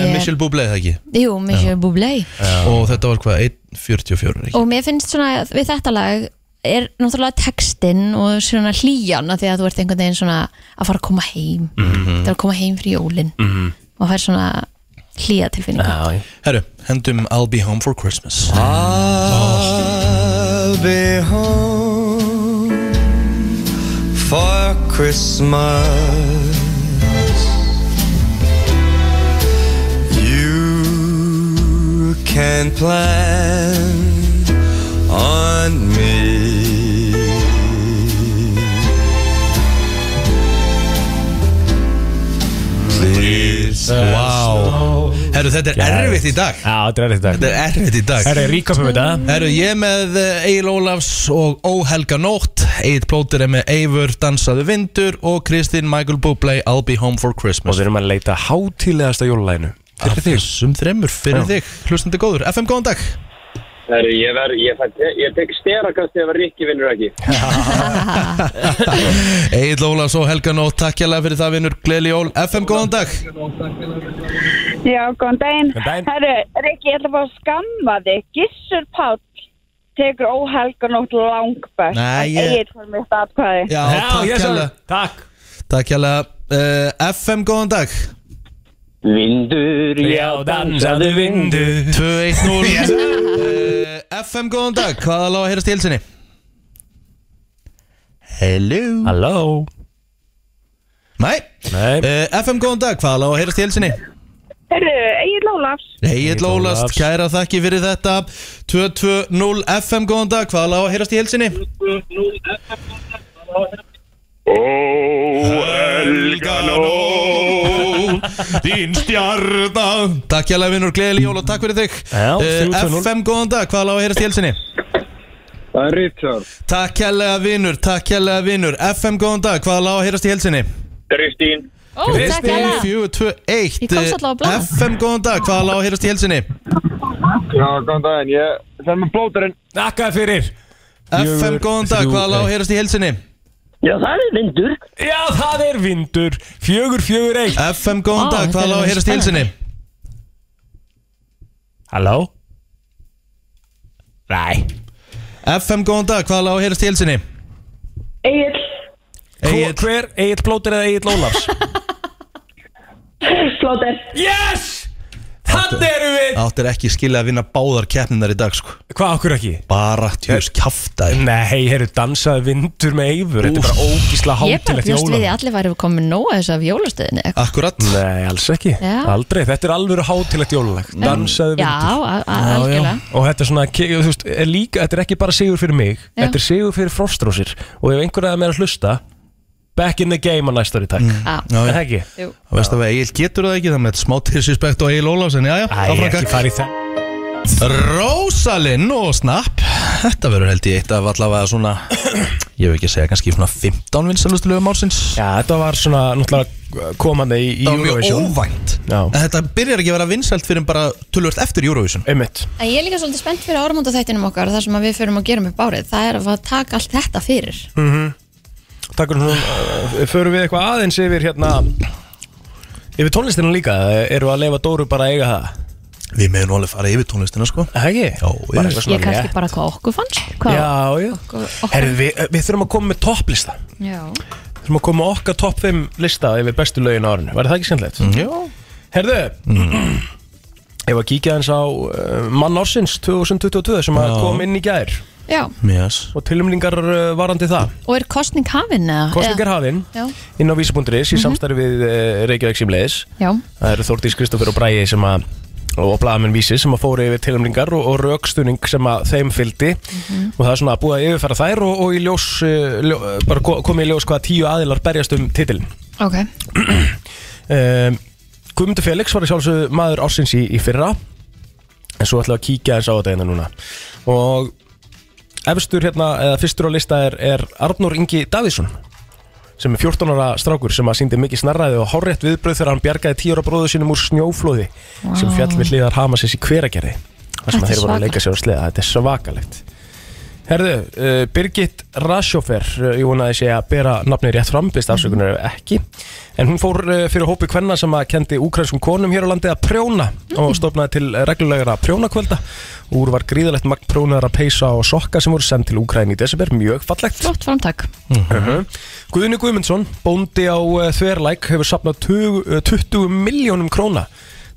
En Michel Bublé það ekki Jú, Michel Bublé Og þetta var hvað, 1.44 ekki? Og mér finnst svona, við þetta lag er náttúrulega textinn og svona hlýjan af því að þú ert einhvern veginn svona að fara að koma heim það er að koma heim fyrir jólin -hmm. og fær svona hlýja tilfinningu Já, Herru, hendum I'll be home for Christmas I'll be home for Christmas. You can plan on me. Please. Wow Herru, þetta er erfitt í dag Já, þetta er þetta Þetta er erfitt í dag Herri, ríka fyrir þetta Herru, ég er með eh, Egil Ólafs og Óhelga Nótt Egil Plóter er með Eivur, Dansaðu Vindur og Kristín Michael Bublé I'll be home for Og Christmas við erum að leita hátílegasta jólalæginu Af þessum þremur fyrir þig, hlustandi góður FM, góðan dag Herru, ég verð, ég fætt, ég, ég tek stera kannski ef að Rikki vinnur ekki. Egil Ólafs og Helga Nótt, takk hérlega fyrir það vinnur Gleili Jól, FM, góðan dag Já, góðan daginn. Góðan daginn. Herru, Rikki, ég ætla bara að skamma þig. Gissur Páll tekur óhelganótt langbæst. Nei, ég- Ég er fyrir mitt atkvæði. Já, takk hérlega Takk Takk hérlega uh, FM, góðan dag Vindur, já, dansaðu vindur. 2-1-0 Eh, FM, góðan dag, hvaða lág að heyrast í hilsinni? Hello Halló Nei, Nei, Eh, FM, góðan dag, hvaða lág að heyrast í hilsinni? Herru, Egil Ólafs. Egil Ólast, kæra þakki fyrir þetta 220 FM, góðan dag Hvað lág að heyrast í helsinni? Ó, Helga Nó Þín stjarnan Takk hjá vinnur, gleðileg jól og takk fyrir þig Já, Eh, 320. FM, góðan dag, hvað lág að heyrast í helsinni? Það er Richard. Takk hjá vinnur, takk hjá vinnur FM, góðan dag, hvað lág að heyrast í helsinni? Kristín. Ó, takk hella 421 Ég komst allavega á blað. FM, góðan dag, hvað lág að heyrast í helsinni? Já, góðan daginn, ég fer með blótarinn. takkaði fyrir FM, góðan dag, þrjú, hvað lág eitt. að heyrast í helsinni? Já, það er vindur. Já, það er vindur Fjögur, fjögur, eitt FM, góðan Vá, dag, þetta hvað er lág að heyrast í spennandi. hilsinni? Halló Nei FM, góðan dag, hvað lág að heyrast í hilsinni? Egil, Egill- Hver, Egil Plóter eða Egil Ólafs flóttir. Yes Þannig erum við Áttir ekki skilja að vinna báðar keppninar í dag, sko Hvað okkur ekki? Bara tjús kjaftaði Nei, heyrðu, dansaði vindur með Eifur Þetta er bara ógísla Ég bara hátilegt bjóst við því að jólalæg allir væri komin nóg að þessu af jólastöðinu eitthvað. Akkurat Nei, alls ekki Já. Mm. Aldrei, þetta er alvöru hátilegt jólalæg Dansaði Já, vindur a- a- algjörlega og þetta er svona, ke- þú veist, er líka, þetta er ekki bara sigur fyrir mig, Já. þetta er sigur fyrir frostrósir og ef einhverja með að hlusta back in the game að næstari takk mm. Já. Já, er já. það ekki? Jú. Þú veist að Egil getur það ekki, það með smá tilsuspekt og Egil Ólafs En já, já, Æ, áfram ekki kakk fara í það Rósalinn og Snapp Þetta verður held ég eitt af allavega svona Ég vil ekki segja kannski svona 15 vinsalustu lögum ársins Já, þetta var svona náttúrulega komandi í, í Það var mjög Eurovision óvænt Já. En þetta byrjar ekki að vera vinsalt fyrir bara tölvöld eftir Eurovision Einmitt En Ég er líka svolítið spennt fyrir áramóta þættinum okkar þar sem að við förum að gera upp árið það er að fá að taka allt þetta fyrir Takk fyrir svona uh, Förum við eitthvað aðeins yfir hérna Yfir tónlistina líka eða Eru að leifa Dóru bara að eiga það Við meðum nú alveg fara yfir tónlistina sko Er Það ekki? Já, bara já. eitthvað Ég svona kannski létt. bara hvað okkur fannst hvað Já, já okkur, okkur. Herðu, við, eh, við þurfum að koma með topplista Við Já. þurfum að koma með okkar topp 5 lista yfir bestu lögin á árinu Var það ekki skemmtilegt? Mm, Já Herðu Ég var að kíkja eins á uh, mann ársins 2022 sem að Já. kom inn í gær Já, Yes og tilumlingar uh, varandi það og er kostning hafin eða? Kostningar hafinn Já. inn á vísi.is í samstarfi við uh, Reykjavík símleiðis Já, Það eru Þórdís Kristoffer og Bræði sem að og blaðamenn vísi sem að fóru yfir tilumlingar og, og rökstunning sem að þeim fylgdi og það er svona að búið að yfirfæra þær og, og í ljós, uh, ljó, bara ko- komið í ljós hvaða tíu aðilar berjast um titilin ok um, Guðmundur Felix var í sjálfsögðu maður ársins í, í fyrra en svo ætlum við að kíkja eins á þetta hérna núna og efstur hérna, eða fyrstur á lista er, er Arnór Ingi Davíðsson sem er 14 ára strákur sem að síndi mikið snarraði og horrett viðbröð þegar hann bjargaði 10 ára bróðu sínum úr snjóflóði sem fjall við hliðar Hamasis í hveragerði þar sem Þetta er þeir voru að svakalegt. leika sér á sleða, þetta er svakalegt Herðu, uh, Birgit Rasjófer, uh, ég vona að ég sé að bera nafnið rétt fram, byrst afsökunar ef ekki en hún fór uh, fyrir hópi kvenna sem að kendi ukrainskum konum hér á landi að prjóna og stofnaði til reglulegra prjónakvölda úr var gríðalegt magn prjónaðar að peysa og sokka sem voru sendt til Ukraín í desember, mjög fallegt Mhm. Flott framtak Guðni Guðmundsson, bóndi á uh, Þverlæk, hefur sapnað 20, uh, 20 miljónum króna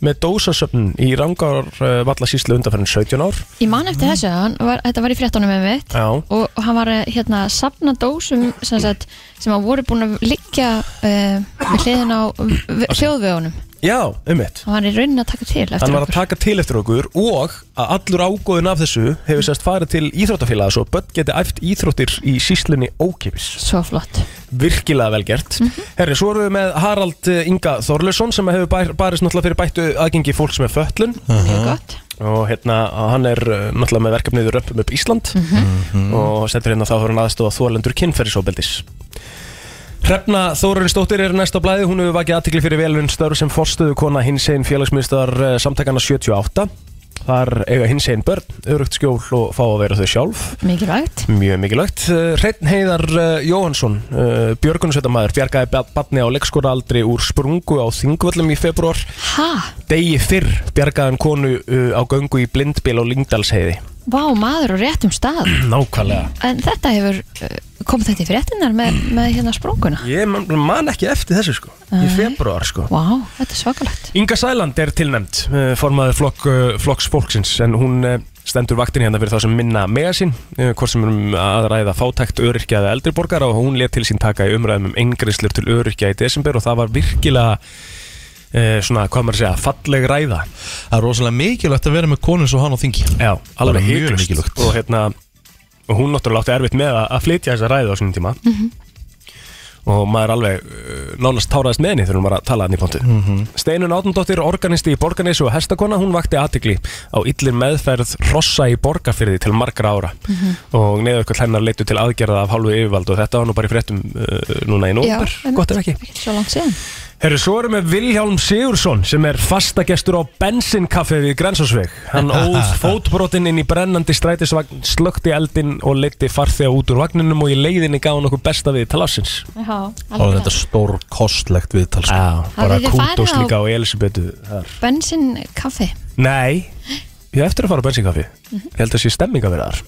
með dósasöfnun í rangar uh, vallasýslu undanferðin 17 ár Ég man eftir þessu, hann var, þetta var í fréttunum með mitt Mm. Já. og hann var eh, hérna að safna dósum sem, sagt, sem að voru búin að liggja uh, við hliðin á v- þjóðvegunum Já, ummitt hann var í raunin að taka til eftir Hann var að okkur taka til eftir okkur og að allur ágóðin af þessu hefur sérst farið til íþróttafélaga svo börn geti æft íþróttir í síslunni ókipis. Svo flott Virkilega velgert. Herri, svo erum við með Harald eh, Inga Þorlesson sem hefur bær, barist náttúrulega fyrir bættu aðgengi fólks með föllun Mjög gott og hérna hann er eh, náttúrulega með verkefniður upp upp Ísland og stendur hérna þá hefur hann aðstóða þólendur kynferðisofbeldis. Hrefna Þórunnsdóttir er næst á blæði, hún hefur vakið aðtikli fyrir velun störf sem forstöðu kona hins einn félagsmyndstöðar samtakana 78. Þar eiga hins einn börn, örugt skjól og fá að vera þau sjálf. Mikilvægt Mjög mikilvægt. Eh, Hreinn Heiðar eh, Jóhansson, eh, björgunarsveitamæður, bjargaði ba- barni á leikskóra aldri úr sprungu á þingvöllum í februar. Ha, Degi fyrr bjargaði hann konu eh, á göngu í blindbíl á Lyngdalsheiði. vá maður á réttum stað Nákvæmlega. En þetta hefur uh, komið þetta í fréttinnar með, með hérna sprunguna Ég man, man ekki eftir þessu sko, í Nei. februar sko. Vá, þetta er svakalegt Inga Sæland er tilnæmt, uh, formaður flokk, uh, flokks fólksins, en hún uh, stendur vaktin hérna fyrir þá sem minna mega sín, uh, hvort sem er um að ræða fátækt öryrkja eða eldri borgar og hún let til sín taka í umræðum um eingriðslur til öryrkja í desember og það var virkilega uh, svona, hvað maður að segja, falleg ræða. Það er rosalega mikilvægt að vera með konun svo hann á þingi Já, Bara alveg mjög hygglust mikilvægt. og hérna, og hún náttúrulega átti erfitt með að, að flytja þessa ræðu á sínum tíma Mhm. og maður alveg uh, nánast táraðist með henni þegar hún var að tala hann í pontu Mhm. Steinun Átnandóttir, organisti í Borgarnesi og hestakona, hún vakti aðtikli á illir meðferð hrossa í borgarfyrði til margra ára Mhm. og neðaukvöld hennar leitu til aðgerða af hálfu yfirvald og þetta var nú bara í fréttum uh, núna í nómber, gott ef ekki Ekki svo langt síðan Herru, svo erum við Vilhjálm Sigursson sem er fastagestur á bensinkaffi við Grensásveg. Hann (laughs) óð fótbrotinn inn í brennandi strætisvagn, slökti eldinn og leyti farþega út úr vagninum og í leiðinni gaf hann okkur besta við talafsins. Já, Og þetta stór kostlegt viðtal sko. Já, bara Hafið þið farið kútos á- líka á Elisabetu þar. Bensin kaffi Nei, ég hef eftir að fara á bensinkaffi. Mhm. Ég held að sé stemming að vera þar.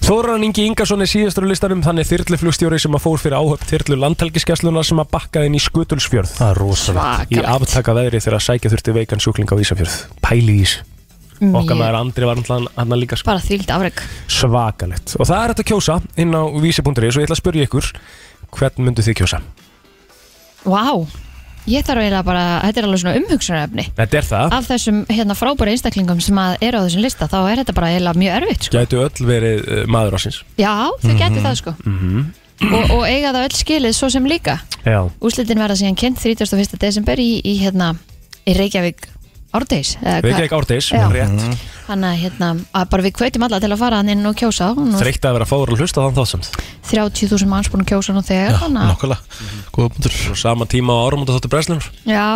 Þóran Ingi Ingarsson er síðastur á listanum, þannig þyrluflugstjóri sem að fór fyrir áhöfn þyrlu landhelgiskeslunar sem að bakkaði inn í Skutulsfjörð. Það er rosalega Svakalegt í aftaka veðri þegar að sækja þurfti veikan sjúkling á Ísafjörð pæli í ís okkar Mjög- maður Andri var náttúrulega hann líka sko. Bara þvíld afreg svakalegt og það er þetta að kjósa inn á vísi.is og ég ætla að spyrja ykkur hvern myndu þið kjósa? Vá, ég þarf eiginlega bara Þetta er alveg svona umhugsunarefni Þetta er það Af þessum hérna frábæri einstaklingum sem að eru á þessum lista þá er þetta bara eiginlega mjög erfitt sko. gætu öll verið uh, maður ásins Já, þau mm Mhm. gætu það sko og, og eiga það öll skilið svo sem líka Já Úslitin verða síðan kynnt 31. desember í, í hérna í Reykjavík árdeis Reykjavík árdeis, Já. rétt Þannig að hérna, að bara við kveitum alla til að fara hann inn og kjósa Nú er Þreytt að vera fáður að hlusta þann þá samt 30.000 manns búin að kjósa nú þegar þannig að- Nákvæmlega, góða punktur Svo sama tíma á árum og þáttu brennslunum Já,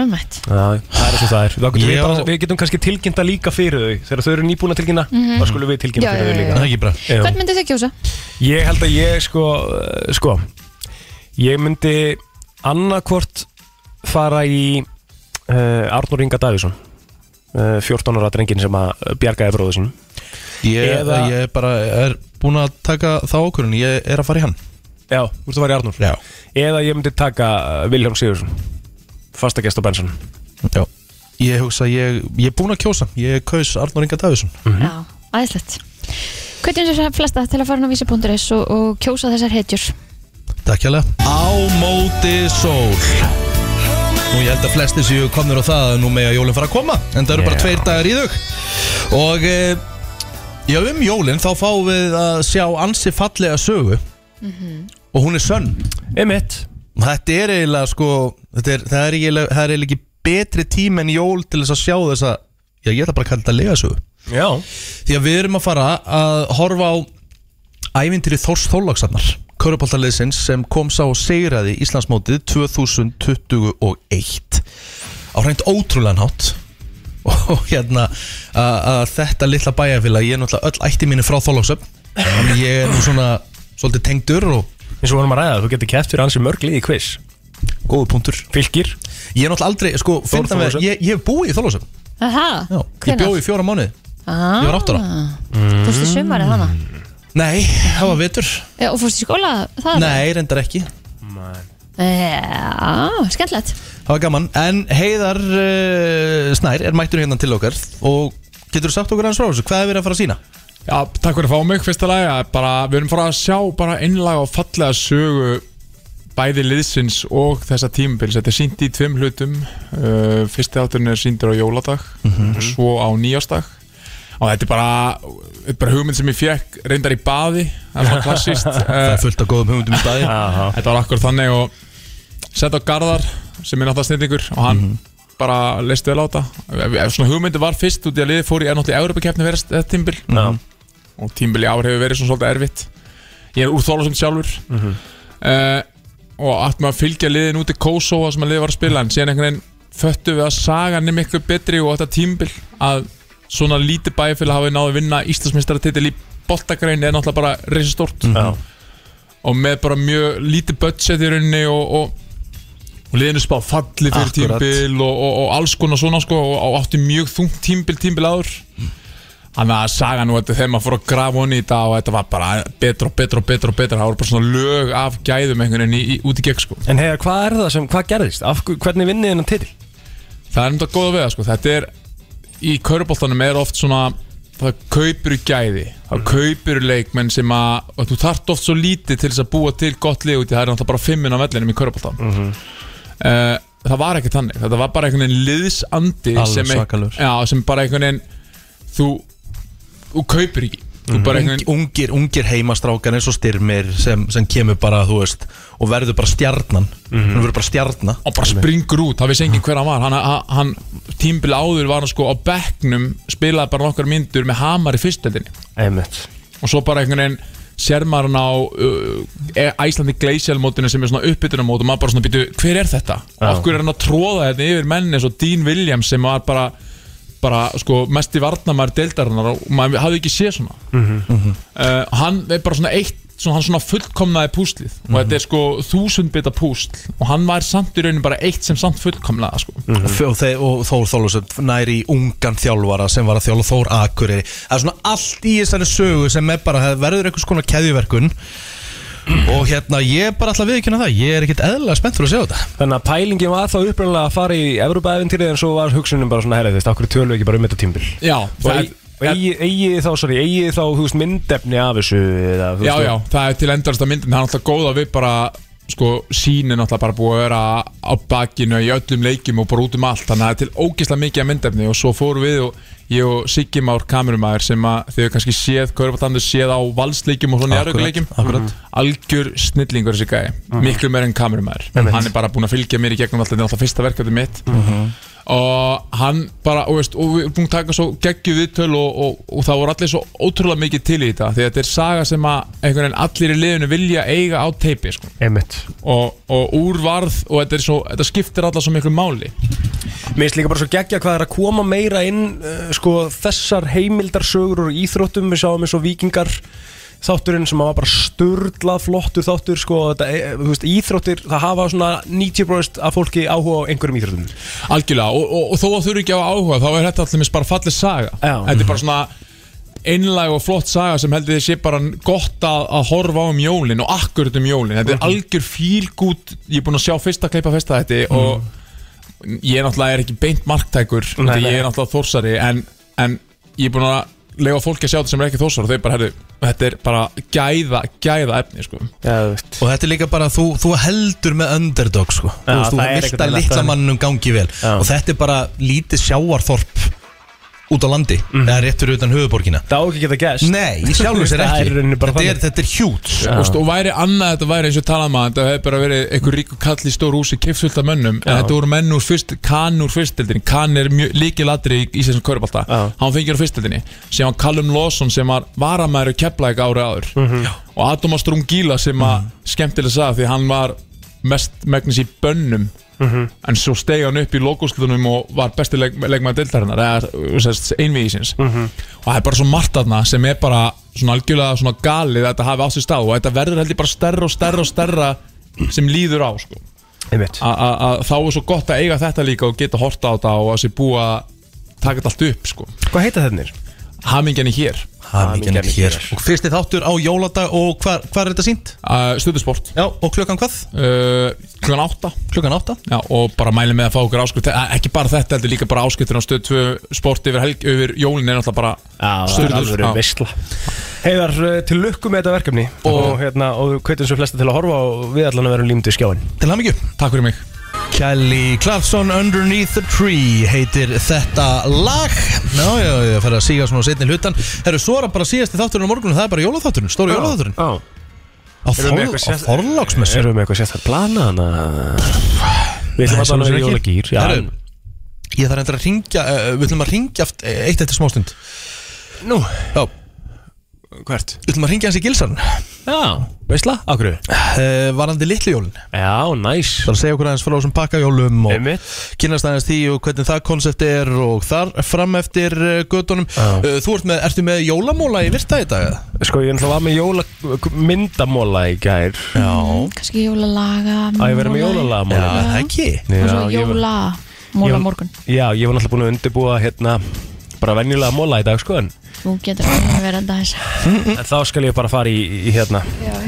umvætt Það er eins og það er Þá getum við, Já. bara, við getum kannski tilkynnta líka fyrir þau Þegar þau eru nýbúin að tilkynna Þá skulum við tilkynna Mhm. Já, fyrir já, þau líka já, Það er ekki bra Já. Hvern myndi þau kjósa? Ég held að ég sko eh, Sko Ég myndi annarkvort fara í uh, Arnur Inga Davíðsson uh, 14 ára drengin sem að bjargaði bróðu sinum Ég, Eða- ég bara er búin að taka þá ákvörðun Ég er að fara í hann Já, þú ert að fara í Arnur Já, Eða ég myndi taka eh, Vilhjálm Sigursson Fasta gest á Benson já Ég hugsa, að ég, ég er búin að kjósa Ég kaus Arnur Inga Davíðsson Já, aðeinslegt Hvernig er þessar flesta til að fara inn á vísi.is og, og kjósa þessar hetjur? Takk hérlega Á móti sól Nú ég held að flesti séu komnir á það að nú með að jólinn fara að koma En það eru bara Já. tveir dagar í þau Og e, já um jólinn þá fáum við að sjá ansi fallega sögu Og hún er sönn Emmett Þetta er eiginlega sko þetta er, það, er eiginlega, það er eiginlega ekki betri tíma en jól til þess að sjá þessa Já ég ætla bara að kalla þetta legasögu Já Því að við erum að fara að horfa á ævintýri Þórs Þólagsafnar Köruboltaliðsins sem kom sá og segraði Íslandsmótið 2021 á hreint ótrúlegan hátt (laughs) og hérna að að þetta litla bæjarfélag, ég er náttúrulega öll ætti mínu frá Þólagsöfn þannig að ég er nú svona svolítið tengdur og Eins og vorum að ræða, þú getur kæft fyrir ansi mörg lið í quiz góður punktur Fylgir Ég er náttúrulega aldrei, sko, fyndan við, Þórshólafsöfn. ég, ég hef búið í Þólagsöfn Aha, Já, ég hvenær? bjóði í fjóra mánuði, ah, ég var Mhm. áttara Þú fórst í sumarið hana Mhm. Nei, það var vetur Já, Og fórst í skóla það? Nei, reyndar ekki Já, skemmtilegt Það var gaman, en Heiðar uh, Snær er mættur hérna til okkar og getur þú sagt okkur hans frá þessu, hvað er verið að fara að sína? Já, takk fyrir að fá mig fyrsta lagi að bara, Við erum fara að sjá bara einlega og fallega sögu bæði liðsins og þessa tímabils Þetta er sínt í tveim hlutum uh, Fyrsti átturinn er síndur á jóladag Mhm. Svo á nýjásdag Og þetta er bara, þetta er bara hugmynd sem ég fekk reyndar í baði Það er svona klassist (laughs) Það uh, er fullt af góðum hugmyndum í staði Þetta var akkur þannig og sett á Garðar sem er náttúrulega snillingur og hann Mhm. bara leist vel á þetta Ef- ef Svona hugmyndu var fyrst út í að liði fór í er náttúrulega Európa-keppni verið þetta tímbil Já. og tímbil í ár hefur verið svona svolítið erfitt Ég er úr Þólasund sjálfur mm og allt með að fylgja liðin út í Kosovo sem að liði var að spila en síðan einhvern veginn föttu við að saga nefn ykkur betri og þetta tímbil að svona lítið bæjarfélag hafi náðu að vinna Íslandsmeistaratitil í boltagrein er náttúrulega bara reisistort Mhm. mm Já og með bara mjög lítið budget í rauninni og, og, og liðinu spáð falli fyrir Akkurat. tímbil og, og, og alls konar svona sko og, og átti mjög þungt tímbil tímbil áður Þannig að saga nú þetta þegar maður fór að grafa honni í dag og þetta var bara betra og betra og betra og betra það voru bara svona lög af gæðum einhvern veginn í, í, út í gegn sko En heiðar, hvað er það sem, hvað gerðist? Af, hver- hvernig vinnið hennan titil? Það er um þetta góða veða sko Þetta er Í köruboltanum er oft svona Það kaupir gæði Það kaupir leikmenn sem að og Þú þarft oft svo lítið til þess að búa til gott lið út í Það er náttúrulega bara fimmun á vellinum í köruboltanum mm Það var ekki þannig Þetta var bara einhvern veginn liðsandi Alveg sem ein- svakalegur. Já, sem bara einhvern veginn Þú Þú kaupir ekki Þú bara einhvern veginn Ungir, ungir heimastrákan eins og styrmir sem, sem kemur bara, þú veist, og verður bara stjarnan Hún verður bara stjarna og bara springur út, það vissi enginn hver hann var hann, hann- hann tímbil áður var hann sko á bekknum, spilaði bara nokkar myndur með hamar í fyrstöldinni Einmitt og svo bara einhvern veginn sér maður hann á uh, Æslandi Glacial-mótinu sem er svona uppbytunamót og maður bara svona býtu, hver er þetta? Og af hverju er hann að tróða þetta yfir menni eins og Dean Williams sem var bara, bara sko, mest í varnamæður deildarinnar og maður hafði ekki séð svona uh, hann er bara svona eitt svona, hann svona fullkomnaði púslið og þetta er sko þúsund bita púsl og hann var samt í rauninu bara eitt sem samt fullkomnaði sko. og, þeir, og Þór Þólusöfn næri í ungan þjálfara sem var að þjálfa Þór Akureyri Það er svona allt í þessari sögu sem er bara, það verður einhvers konar keðjuverkun Og hérna, ég er bara alltaf viðkynna það, ég er ekkert eðlilega spennt fyrir að sjá þetta Þannig að pælingin var þá upprunalega að fara í Evrópa-eventýrið en svo var hugsunum bara svona herrið, þú veist, okkur tölum við ekki bara um þetta tímbil já, Og það, eigi- og eigi eigi þið þá, sorry, eigi þið þá, þú veist, myndefni af þessu eða, þú Já, veist, já, það er til endarast að myndin Það er náttúrulega góð að við bara sko, sínin náttúrulega bara búið að vera á bakinu í öllum leikjum og bara út um allt þannig að það er til ógeðslega mikið að myndefni og svo fórum við og ég og Siggi Már kamerumæður sem að þau kannski séð Körbátandur séð á valsleikjum og svona Akkurat, jarðugleikjum akkurat. algjör snillingur Mhm. Mhm. þessi gæði miklu meir en kamerumæður hann er bara búin að fylgja mér í gegnum alltaf þetta er alltaf fyrsta verkefni mitt og hann bara, og, veist, og við erum búin að taka svo geggju viðtöl og, og, og það voru allir svo ótrúlega mikið til í þetta því að þetta er saga sem að einhvern veginn allir í liðinu vilja eiga á teipi sko. Einmitt og, og úr varð og þetta, er svo, þetta skiptir alla svo miklu máli Mér finnst líka bara svo geggja hvað er að koma meira inn uh, sko þessar heimildarsögur og íþróttum við sjáum eins og vikingar þátturinn sem var bara sturla flottur þáttur sko þetta, eh, þú veist, íþróttir það hafa svona 90% af fólki áhuga á einhverjum íþróttum algjörlega og, og, og þó að þú eru ekki á áhuga þá er þetta allir bara fallið saga Já. þetta er bara svona einlæg og flott saga sem heldur þið sé bara gott að, að horfa á um jólin og akkurat um jólin þetta er algjör fílgút ég er búinn að sjá fyrsta kleipa fyrsta þetta og ég náttúrulega er ekki beint marktækur Mm. Nei, því nei. ég er náttúrulega þórsari en, en ég er búinn að lega fólki að sjá þetta sem er ekki þórsar og þau bara, herru, þetta er bara gæða, gæða efni sko. Já, þú veist Og þetta er líka bara að þú, þú heldur með underdog sko. Já, Þú veist, þú það er vilt einhvern að veginn litla alltaf- mannum gangi vel Já. Og þetta er bara lítið sjávarþorp út á landi Það er rétt fyrir utan höfuborgina Það á ekki að geta gæst Nei, í sjálfum (laughs) sér Mhm. Það er í ekki rauninni bara Þetta þannig. er, þetta er hjút Þú veist, og væri annað þetta væri eins og talað maður þetta hefði bara verið einhver ríku kall í stór húsi kipsvöld af mönnum, en þetta voru menn úr fyrst kann úr fyrstildinni, kann er líkilatri í Íslandsum Körbálta, Já. hann fengir á fyrstildinni, sem hann Callum Lawson sem var varamæður kepplæk ári áður Já. og Adoma Strungila sem að skemmtilega sagði því hann var mest megnis í bönnum en svo stegi hann upp í logosklutunum og var besti leik, leikmaður deildarinnar eða þú veist, einvíðisins og það er bara svo margt aðna sem er bara svona algjörlega svona galið að þetta hafi á sér stað og þetta verður heldur bara stærra og stærra og stærra sem líður á sko. Einmitt A- a- að þá er svo gott að eiga þetta líka og geta horta á þetta og að sé búa að taka þetta allt upp sko. Hvað heita þennir? hamingjan er hér Hamingjan Hamingjan er er hér Og fyrsti þáttur á jóladag og hvar, hvar er þetta sínt? uh, stöðusport Já, og klukkan hvað? uh, klukkan átta Klukkan átta Já, og bara mæli með að fá okkur áskrift Eh, ekki bara þetta, heldur líka bara áskriftin á stöð 2 sport yfir, helg, yfir jólin er náttúrulega bara sturlus. Já. veistla Heiðar, eh, til lukku með þetta verkefni og, hérna, og hvernig svo flesta til að horfa og við allan að vera límdu í skjáin Til hamingju Takk fyrir mig Kelly Clarkson Underneath the Tree heitir þetta lag Já, já, já, fara að síga svona setni hlutan Herru, svo er það bara síðasti þátturinn á morgunum Það er bara jólaþátturinn, stóri jólaþátturinn Já Á, Erum við þor, með eitthvað á sérst- forláksmessu Erum við með eitthvað sett að plana hana? Við ætlum Nei, að tala sem um ekki. jólagýr já. Herru, Ég þarf endur að ringja, uh, við ætlum að ringja aft, eh, eitt eftir smástund Nú, Já, hvert? við ætlum að ringja hans í gilsarn uh, Já, veistla, okkur Varandi Eh, litlu jólin Já, næs Það er að segja okkur aðeins frá þessum pakkajólum og Einmitt. kynast aðeins því og hvernig það konsept er og þar fram eftir uh, gödunum Já. uh, Þú ert með, ertu með jólamóla í virta í dag? eða? Sko, ég ætla að var með jólamyndamóla í gær Já Mhm. kannski jólalaga Á ég að vera með jólalamóla Já, það ekki og svo ég var- jóla ég móla var- morgun Já, ég var náttúrulega búin að undirbúa hérna bara venjulega móla í dag, sko en þú getur að vera enda þess En þá skal ég bara fara í, í hérna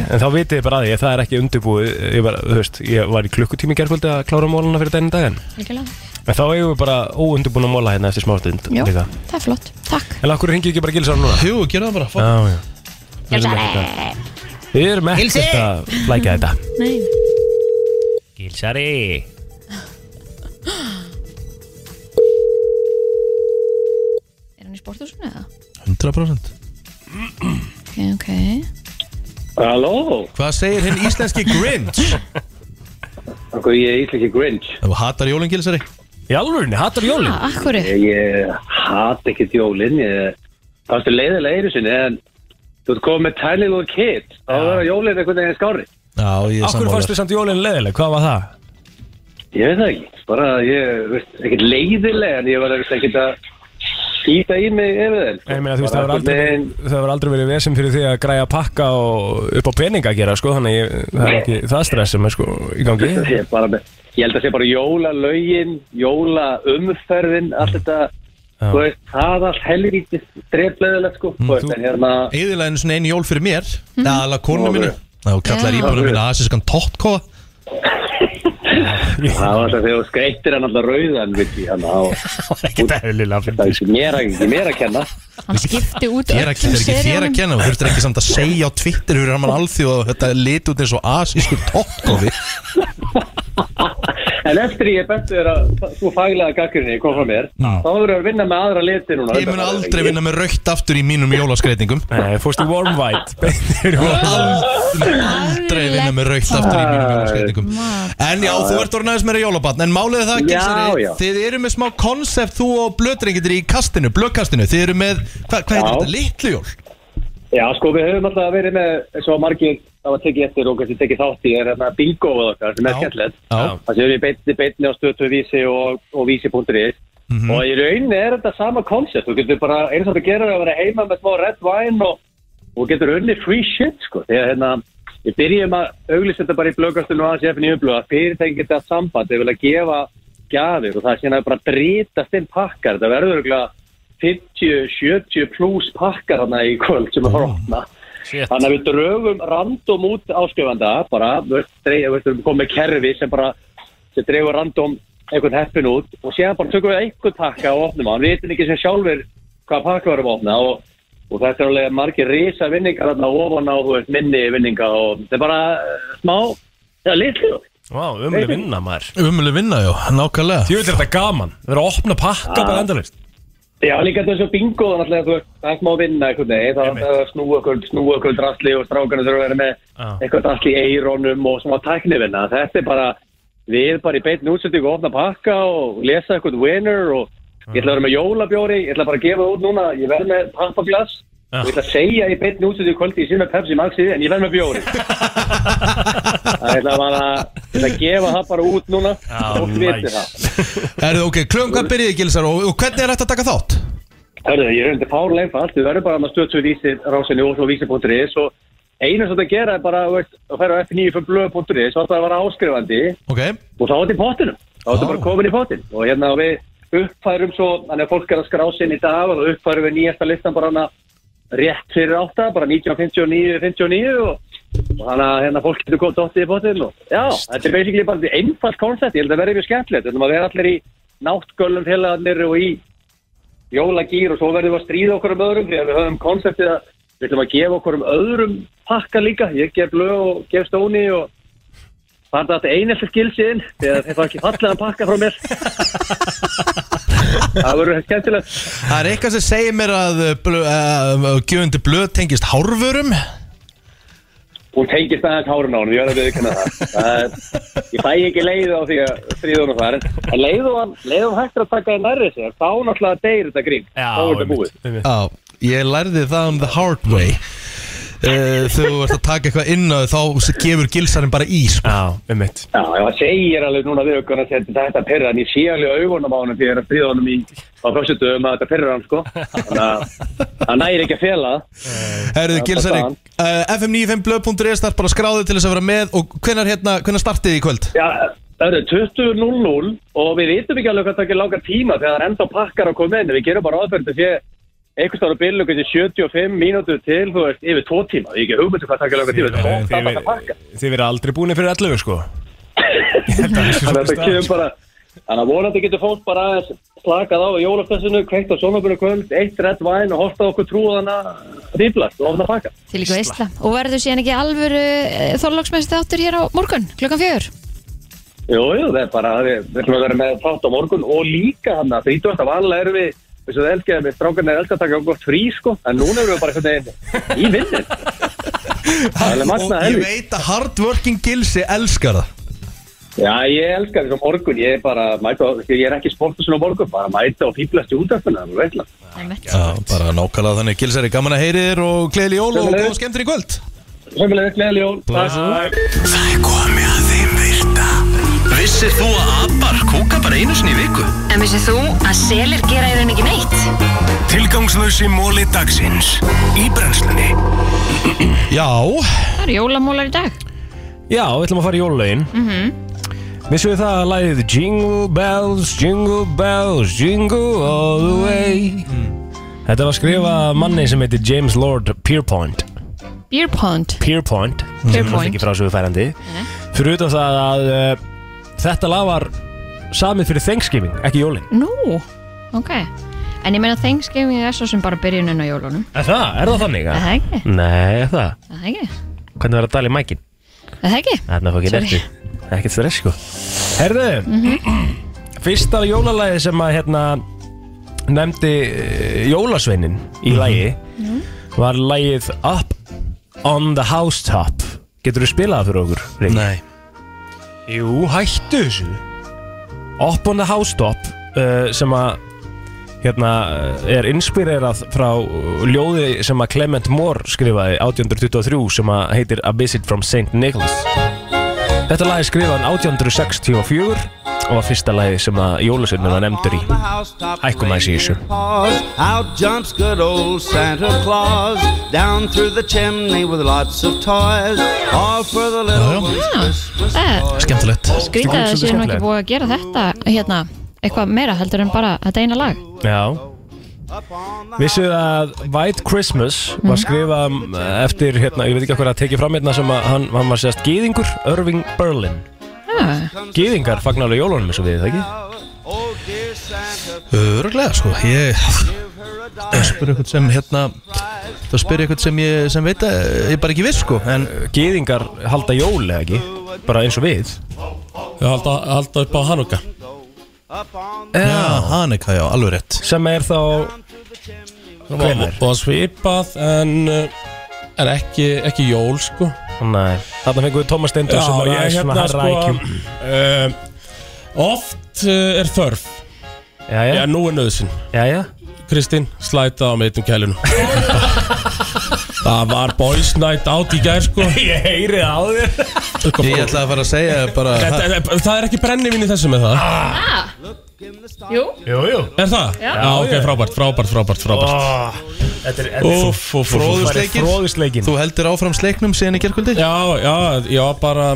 En þá vitið þið bara að ég, það er ekki undirbúið ég, bara, þú veist, ég var í klukkutími gerkvöldi að klára mólana fyrir daginn daginn Líkilega. En þá eigum við bara óundirbúna móla hérna eftir smástund Já, líka það er flott, takk En okkur ringi ekki bara Gilsar núna Jú, gera það bara fá- Já, já Við erum ekkert að- Við erum ekkert að flækja þetta Nei. Gilsari er hann í sporthúsinu eða? 100% ok, ok Halló? Hvað segir hinn íslenski Grinch? Akkur ég er íslenski Grinch. Þú hatar jólin gilsari Í alvörinni, hattar jólin ah, akkurri, Ég hat ekkert jólinn. Ég fannst þér leiðilega einu sinni, en þú ert komið með Tiny Little Kid. Þá verður jólinn einhvern veginn skári. Já, ég Akkur fannst þið samt jólin leðileg, hvað var það? Ég veit það ekki. Bara ég, veist, ekkert leiðilega, en ég var veist, ekkert að skýta í mig yfir þeim. Nei, ég meina, þú veist, það hefur Bara aldrei, einhvern veginn- það hefur aldrei verið vesum fyrir því að græja pakka og upp á peninga að gera, sko, þannig að ég, það er ekki það stress sem er, sko, í gangi. (laughs) Ég, er bara, með- ég held að sé bara jólalögin, jólaumferðin, Mm. allt þetta, þú veist, það allt helvítið drefleðilegt, sko, Mm, þú veist, en hérna... Eðilega einu svona einu jól fyrir mér Það er alveg konu Ó, mínu guð. Það kallar Já. íbúinu mínu asískan tóttkóa Það var alltaf þegar þú skreittir hann alltaf rauðan við því hann á Ekkert eðlilega það er fyrir því. ekki mér að, sko. ekki mér að kenna hann skipti út Þér er ekki- öllum þetta er ekki þér að seríunum. kenna Þú þurftir ekki samt að segja á Twitter Hver er hann alþjóð og þetta lit út eins og asískur tóttkófi En eftir ég bentu þér að þú faglega gaggrinni kom frá mér Já. þá verður að vinna með aðra liti núna Ég mun aldrei vinna með raukt aftur í mínum jólaskreitingum Nei, fórstu warm (laughs) white Beintir Ég mun aldrei, aldrei vinna með raukt aftur í mínum jólaskreitingum En já, þú ert orðin aðeins meira jólabatn En málið er það, Já, Gilsari, já. þið eru með smá konsept Þú og blödrengitir í kastinu, blökkastinu Þið eru með, hvað hva heitir Já. þetta, litlu jól? Já, sko, við höfum alltaf verið með eins og margir það var tekið eftir og kannski tekið þátt í er hérna bingoð okkar sem er Já. skemmtilegt Já. Það séum við beinni, beinni á stötu vísi og, og vísi.is Mhm. og í rauninni er þetta sama koncept þú getur bara, eins og þetta gerir er að vera heima með smá red wine og, og getur unni free shit, sko, þegar hérna við byrjum að auglýsa þetta bara í blöggastinu og aðeins ég finn í umblöð að fyrirtækin geta haft samband þeir vilja gefa gjafir og það er síðan bara drítast inn pakkar þetta verður örugglega 50, 70 pluss pakkar þarna í kvöld sem er að opna Þannig að við drögum random út áskrifanda, bara, við erum komið með kerfi sem bara, sem dregur random einhvern heppin út og séðan bara tökum við einhvern pakka og opnum hann, við veitum ekki sem sjálfur hvað pakka við erum að opna og, og þetta er alveg margir risa vinningar þarna ofan á, þú veist, minni vinninga og þetta er bara eh, smá, já, litlu. Vá, umlega vinna maður Umlu vinna, já, nákvæmlega Þú veit þetta gaman Það er að opna pakka bara endalist Já, líka þessu bingo, þannig að þú veist, það er smá vinna einhvern veginn, það er Einmitt. alltaf að snúa okkur, snúa okkur drastli og strákarna þurfa að vera með Já. eitthvað drastli í eironum og smá tæknivinna. Þetta er bara, við bara í beitin útsendingu og opna pakka og lesa eitthvað winner og ég ætla að vera með jólabjóri, ég ætla bara að gefa það út núna, ég verð með pappaglass og ég ætla að segja í beitin útsendingu kvöldi, ég sé með Pepsi Maxi en ég verð með (laughs) bjóri. það ætla bara, ég ætla að gefa það bara út núna og viti nice. það. (laughs) Erðu, ok, klugum hvað byrjiði, Gilsar Og, og hvernig er þetta að taka þátt? Hörðu, ég er undir fárleif allt, við verðum bara með stöðsöðu vísi rásinni og vísi.is og einu sem þetta gera er bara þú veist, að færa á f9.blöð.is og það að vera áskrifandi Ah, Ok, og þá er þetta í pottinum, þá er þetta bara komin í pottin og hérna við uppfærum svo, þannig að fólk er að skrá sinni í dag og þá uppfærum við nýjasta listan bara hana rétt fyrir átta, bara 1959, 59 og, og þannig að hérna fólk getur komið dottið í pottin og já, þetta er basically bara þetta einfalt koncept, ég held að verði mjög skemmtilegt, þannig að við erum allir í náttgölum félagarnir og í jólagýr og svo verðum við að stríða okkur um öðrum því að við höfum konseptið að við ætlum að gefa okkur um öðrum pakka líka ég gef blöð og gef stóni og það er þetta einelti skilsiðin því að þetta var ekki fallega pakka frá (laughs) mér það verður skemmtilegt það er eitthvað sem segir mér að eh, uh, blö, uh, Gjöfundi blöð tengist hárvörum hún tengist aðeins hárun á hann, ég verður að viðkynna það. það er- ég fæ ekki leið á því að stríðunum þar, en- en leiðum hann leiðum hægt að taka það nærri sér þá náttúrulega deyr þetta grín, þá er þetta búið Já, ég lærði það um the hard way Eh, uh, Þegar þú ert að taka eitthvað inn á þig, þá gefur gilsarinn bara í sko. Já, um mitt Já, ef hann segir alveg núna við okkur að þetta þetta pyrra hann, ég sé alveg augunum á hann þegar að stríða honum í á fjómsutum að þetta pyrra hann, sko. Þannig að hann næri ekki að fela það. Herðu gilsarinn, uh, fm95blöð.is þar bara skráðu til þess að vera með og hvenær, hérna, hvenær startið í kvöld? Já, það eru 20.00 og við vitum ekki alveg hvað það ekki langar tíma þegar það er enda pakkar að koma inn. Við gerum bara aðferðið sé einhvers staðar á byllu kannski 75 mínútur til, þú veist, yfir tvo tíma. Ég er ekki hugmyndu hvað það ekki langar tíma. Þetta er hótt að þetta pakka. Þið verið aldrei búinir fyrir 11 sko (laughs) Þannig að þetta kemur bara Þannig að vonandi getur fólk bara aðeins slakað á í jólaftössinu, kveikt á sjónabunni kvöld, eitt redd væn og horta okkur trúðana rýblast og ofna pakka. til ykkur veistla og verður síðan ekki alvöru þorlóksmest þáttur hér á morgun klukkan fjögur Jú, jú, það er bara, við við ætlum að vera með þátt á morgun og líka hann að 30. vanlega erum við, við svo elskaðum við strákarna er elskað að taka okkur gott frí, sko, en núna erum við bara hvernig, í vinnin. Það er alveg Og magnað ég helvið. veit að hardworking gilsi elskar það Já, ég elska þessum morgun, ég er bara, að mæta, á- ég er ekki sportusun á morgun, bara að mæta og fýblast í útafnuna, það er veitlega. Einmitt. Já, bara nákvæmlega þannig gilsari, gaman að heyri þér og gleðli jól og góða skemmtir í kvöld Sveimulega, gleðileg jól. Takk. Það er komið að þeim virta Vissir þú að abar kúka bara einu sinni í viku? En vissið þú að selir gera í raun ekki neitt? Tilgangslösi móli dagsins Í brennslunni Já, það eru jólamólar í dag Já, við ætlum að fara í jólulegin mm -hmm. Vissum við það að lagið Jingle bells, jingle bells, jingle all the way Þetta var skrifað af manni sem heitir James Lord Pierpont Beer Pond Pierpont sem er náttúrulega Pierpont. ekki frásögufærandi Fyrir utan það að uh, þetta lag var samið fyrir Thanksgiving, ekki jólin nú, ok en ég meina Thanksgiving er svo sem bara byrjunin á jólunum Er það? Er það þannig? er að- það ekki? Nei, er það? er það ekki? Hvernig var að dala í mækin? er það ekki? Þarna fók ég Sorry. nertu Ekkert stress sko Herðu Fyrsta jólalagi sem að hérna Nefndi eh, jólasveinin Í lagi Var lagið Up on the Housetop Getur þú spilað það fyrir okkur? Rík? Nei Jú, hættu þessu Up on the Housetop uh, Sem að hérna, er inspirerað frá eh, ljóði sem að Clement Moore skrifaði 1823 sem að heitir A Visit from St. Nicholas Þetta lag er skrifað 1864 og var fyrsta lagi sem að jólasveinnum var nefndur í Ækum að þessu paws. Out jumps good old Santa Claus down through the chimney with lots of toys, all for the little ones. Skemmtilegt Skrítið að þessi er Svolítið nú ekki skemmtilegt. búið að gera þetta hérna, eitthvað meira heldur en bara þetta eina lag Já Vissuð þið að White Christmas var skrifað um, eftir, hérna, ég veit ekki hvað að tekið fram hérna sem að hann, hann var sérst gýðingur Irving Berlin ah. Gýðingar fagnar alveg jólunum eins og við, er það ekki? Öruglega sko Ég Það spyrir eitthvað sem hérna Það spyrir eitthvað sem ég sem veit að Ég er bara ekki viss sko En Gýðingar halda jól eða ekki Bara eins og við Já, halda, halda upp á Hanuka Já, Hanuka, já, alveg rétt Sem er þá Hvenær? Og svipað en, uh, en ekki, ekki jól sko Nei, þarna fengum við Tómas Steindor sem var aðeins hérna, svona herra sko- uh, Oft uh, er þörf Já, já. Já, nú er nöðsinn Já, já Kristín, slæta á meitum kælinu Það var boys night out í gær sko Ég heyri á þér Sko, Ég ætlaði að fara að segja bara Þetta, það, það er ekki brennivín í þessu með það Jú Jú, jú Er það? Já. Já, ok, frábært, frábært, frábært, frábært Þetta er Úff, úff, úff, úff. Fróðusleikir Fróðusleikin Þú heldur áfram sleiknum síðan í gerkvöldi? Já, já, já, bara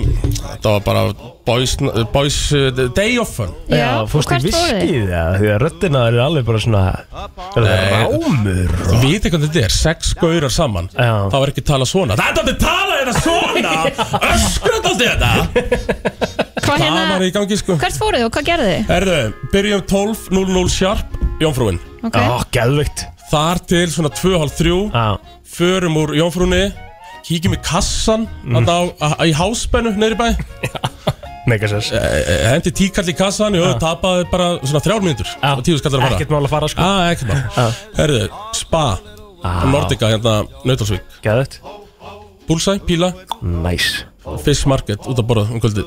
Það var bara boys, boys uh, day of fun Já, fórst í viskið það Því að röddina er alveg bara svona Er það rámur Vitið hvað þetta er, sex gaurar saman Já. Það var ekki tala svona Það er þetta tala þetta svona Öskrat allt í þetta Hvað Það hérna, var í gangi sko hvert fóruð þið og hvað gerðu þið? Herðu, byrjum 12.00 sharp Jónfrúin Ok. Já, geðveikt Þar til svona 2.30 Förum úr Jónfrúni Kíkjum í kassan mm. á, á, í háspennu neyri bæ Megasess Eh, Hendi tíkall í kassan Jó, tapaði bara svona þrjár mínútur Og tíu skallar að fara Ekkert mál að fara sko ah, Ekkert mál Herðu, spa ah. Nordica hérna, Nautalsvík Gæðut Bullseye, píla Nice Fish market, út að borða um kvöldið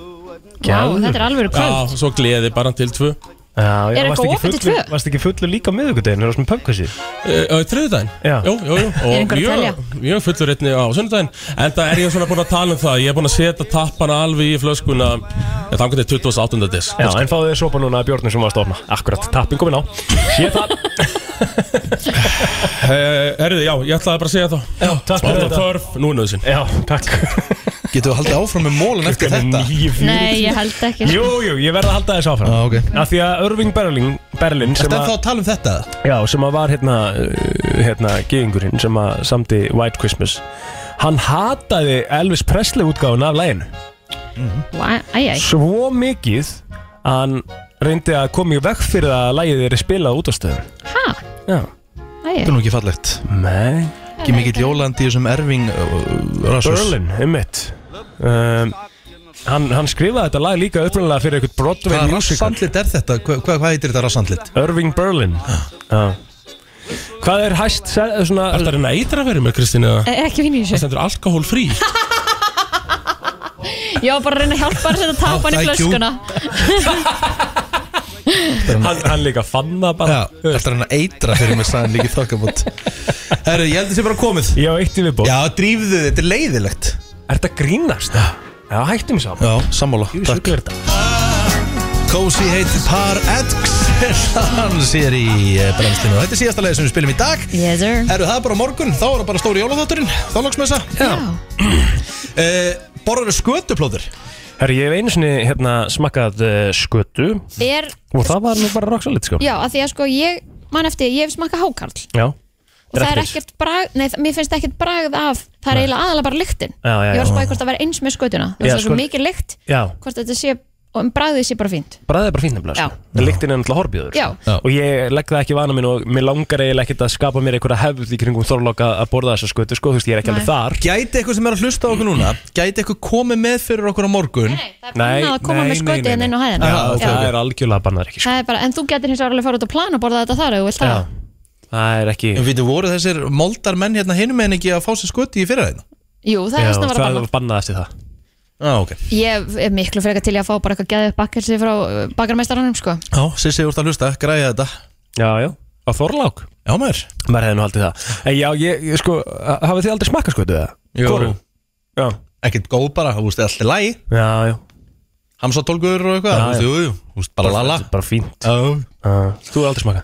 Vá, þetta er alvöru kvöld. Já, svo gleði bara til tvö Já, Er eitthvað opið til tvö? Varst ekki fullur líka á miðugudeginu Það var svona pökkvæsi Uh, Þriðudaginn? Já Jú, jú, jú Er einhver að telja? mjög, mjög fullur einni á sunnudaginn En það er ég svona búin að tala um það Ég er búin að setja tappana alveg í flöskuna Ég þangur til 28. des Já, en fáðu þér sopa núna að Björnum sem var að stofna Akkurat, tappin komin á Hér það Herriði, já, ég ætlaði bara að segja það Já, takk fyrir þetta. Þörf, nú er nöðsinn Já, takk Getur við haldið áfram með mólun eftir þetta? Nei, ég held ekki sko. Jú, jú, ég verð að halda þess áfram ah, okay. Af því að Irving Berlin, Berlin sem Ertu að- ennþá að tala um þetta? Já, sem að var hérna, uh, hérna geðingurinn sem að samti White Christmas Hann hataði Elvis Presley útgáfun af læginu Æ, æ, æ. Svo mikið að hann reyndi að koma í veg fyrir að lægið er spilað út á stöðum Ha? Já Æ, Þetta er nú ekki fallegt Nei Ekki mikill jólandi í þessum erfing uh, Rasmus Berlin, einmitt um, hann, hann skrifaði þetta lag líka upprunalega fyrir eitthvað Broadway Hvaða musical rassandlit er þetta? Hva, hva, hvað heitir þetta rassandlit? Irving Berlin Já Hvað er hæst se- svona Þetta er einn eitra verið með Kristín eða? E- Ekki vinni í Það þessu stendur alkohól frí Ég var bara að reyna að hjálpa að setja tapan í Thank you. flöskuna hann, hann líka fann það bara Já, þetta er hann að eitra fyrir mig sæðan líki þokkabót (laughs) Herru, ég held þessi bara komið Ég á eitt í viðbók Já, drífðu þið, þetta er leiðilegt Er þetta grínast? Já, hættum við saman Já, sammála, takk Sjúklega er þetta. Cozy heitir Par Excellence hér í eh, brennslinu og þetta er síðasta leið sem við spilum í dag Yes sir Herru, það er bara á morgun, þá er það bara stóri jólaþátturinn þá lóksmessa Já uh, Borður skötuplóður Herri, ég hef einu sinni hérna, smakkað uh, skötu Er, og það var nú bara roxalit sko já, að því að sko ég Man eftir, ég hef smakað hákarl Já. Og það er eftir. ekkert bragð, nei, það- mér finnst ekkert bragð af Það er eiginlega aðalega bara lyktin Já, já, Ég var já. spáði hvort það væri eins með skötuna Já, Það er svo sko- mikið lykt Já, Hvort þetta sé og um bræðið sé bara fínt Bræðið er bara fínt nefnilega Já. sko. Líktin er náttúrulega horfiður Já. sko. Og ég legg það ekki í vana minn Og mér langar eiginlega ekkert að skapa mér einhverja hefð Í kringum þorlóka að borða þessa skötu sko, Þú veist, ég er ekki alveg þar Gæti eitthvað sem er að hlusta á okkur núna Gæti eitthvað komið með fyrir okkur á morgun Nei, bannað að koma með skotið hérna inn á hæðina. Já, Já, ok, ok. það Það er algjörlega bannar ekki sko. Það er bara, en þú getur hins vegar alveg að fara út og plana og borða þetta þar ef þú vilt það Það er ekki En við voru þessir moldar menn hérna hinum en ekki að fá sér skutti í fyrra hérna? þeim Jú, það er svona að vera að banna bannað eftir það Já, ok Ég er miklu frekar til í að fá bara eitthvað geðið bakkelsi frá uh, bakarmeistaranum sko Já, Sissi, þú ert að hlusta, græja þetta Já, já, á Þorlák Já, maður Maður hefði nú haldið það En já, ég, ég sko, hafið þið aldrei smakka skötu það? Jú. Já Ekkert góð bara, þú veist, allt er lægi Já, já Hamsatólgur og eitthvað, Já, þú veist, já. jú, jú Þú veist, bara lala Bara fínt Já Þú er aldrei smakka?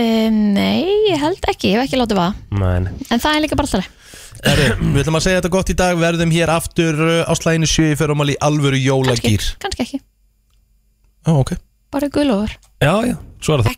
um, Nei, ég held ekki, ég hef ekki látið vaða Nei En það er líka bara alltaf Herru, við ætlum að segja þetta gott í dag Verðum hér aftur uh, á slæðinu sjö Fyrir um alveg í alvöru jólagýr Kannski ekki, Já, ok bara gulofur Já, já, svo er það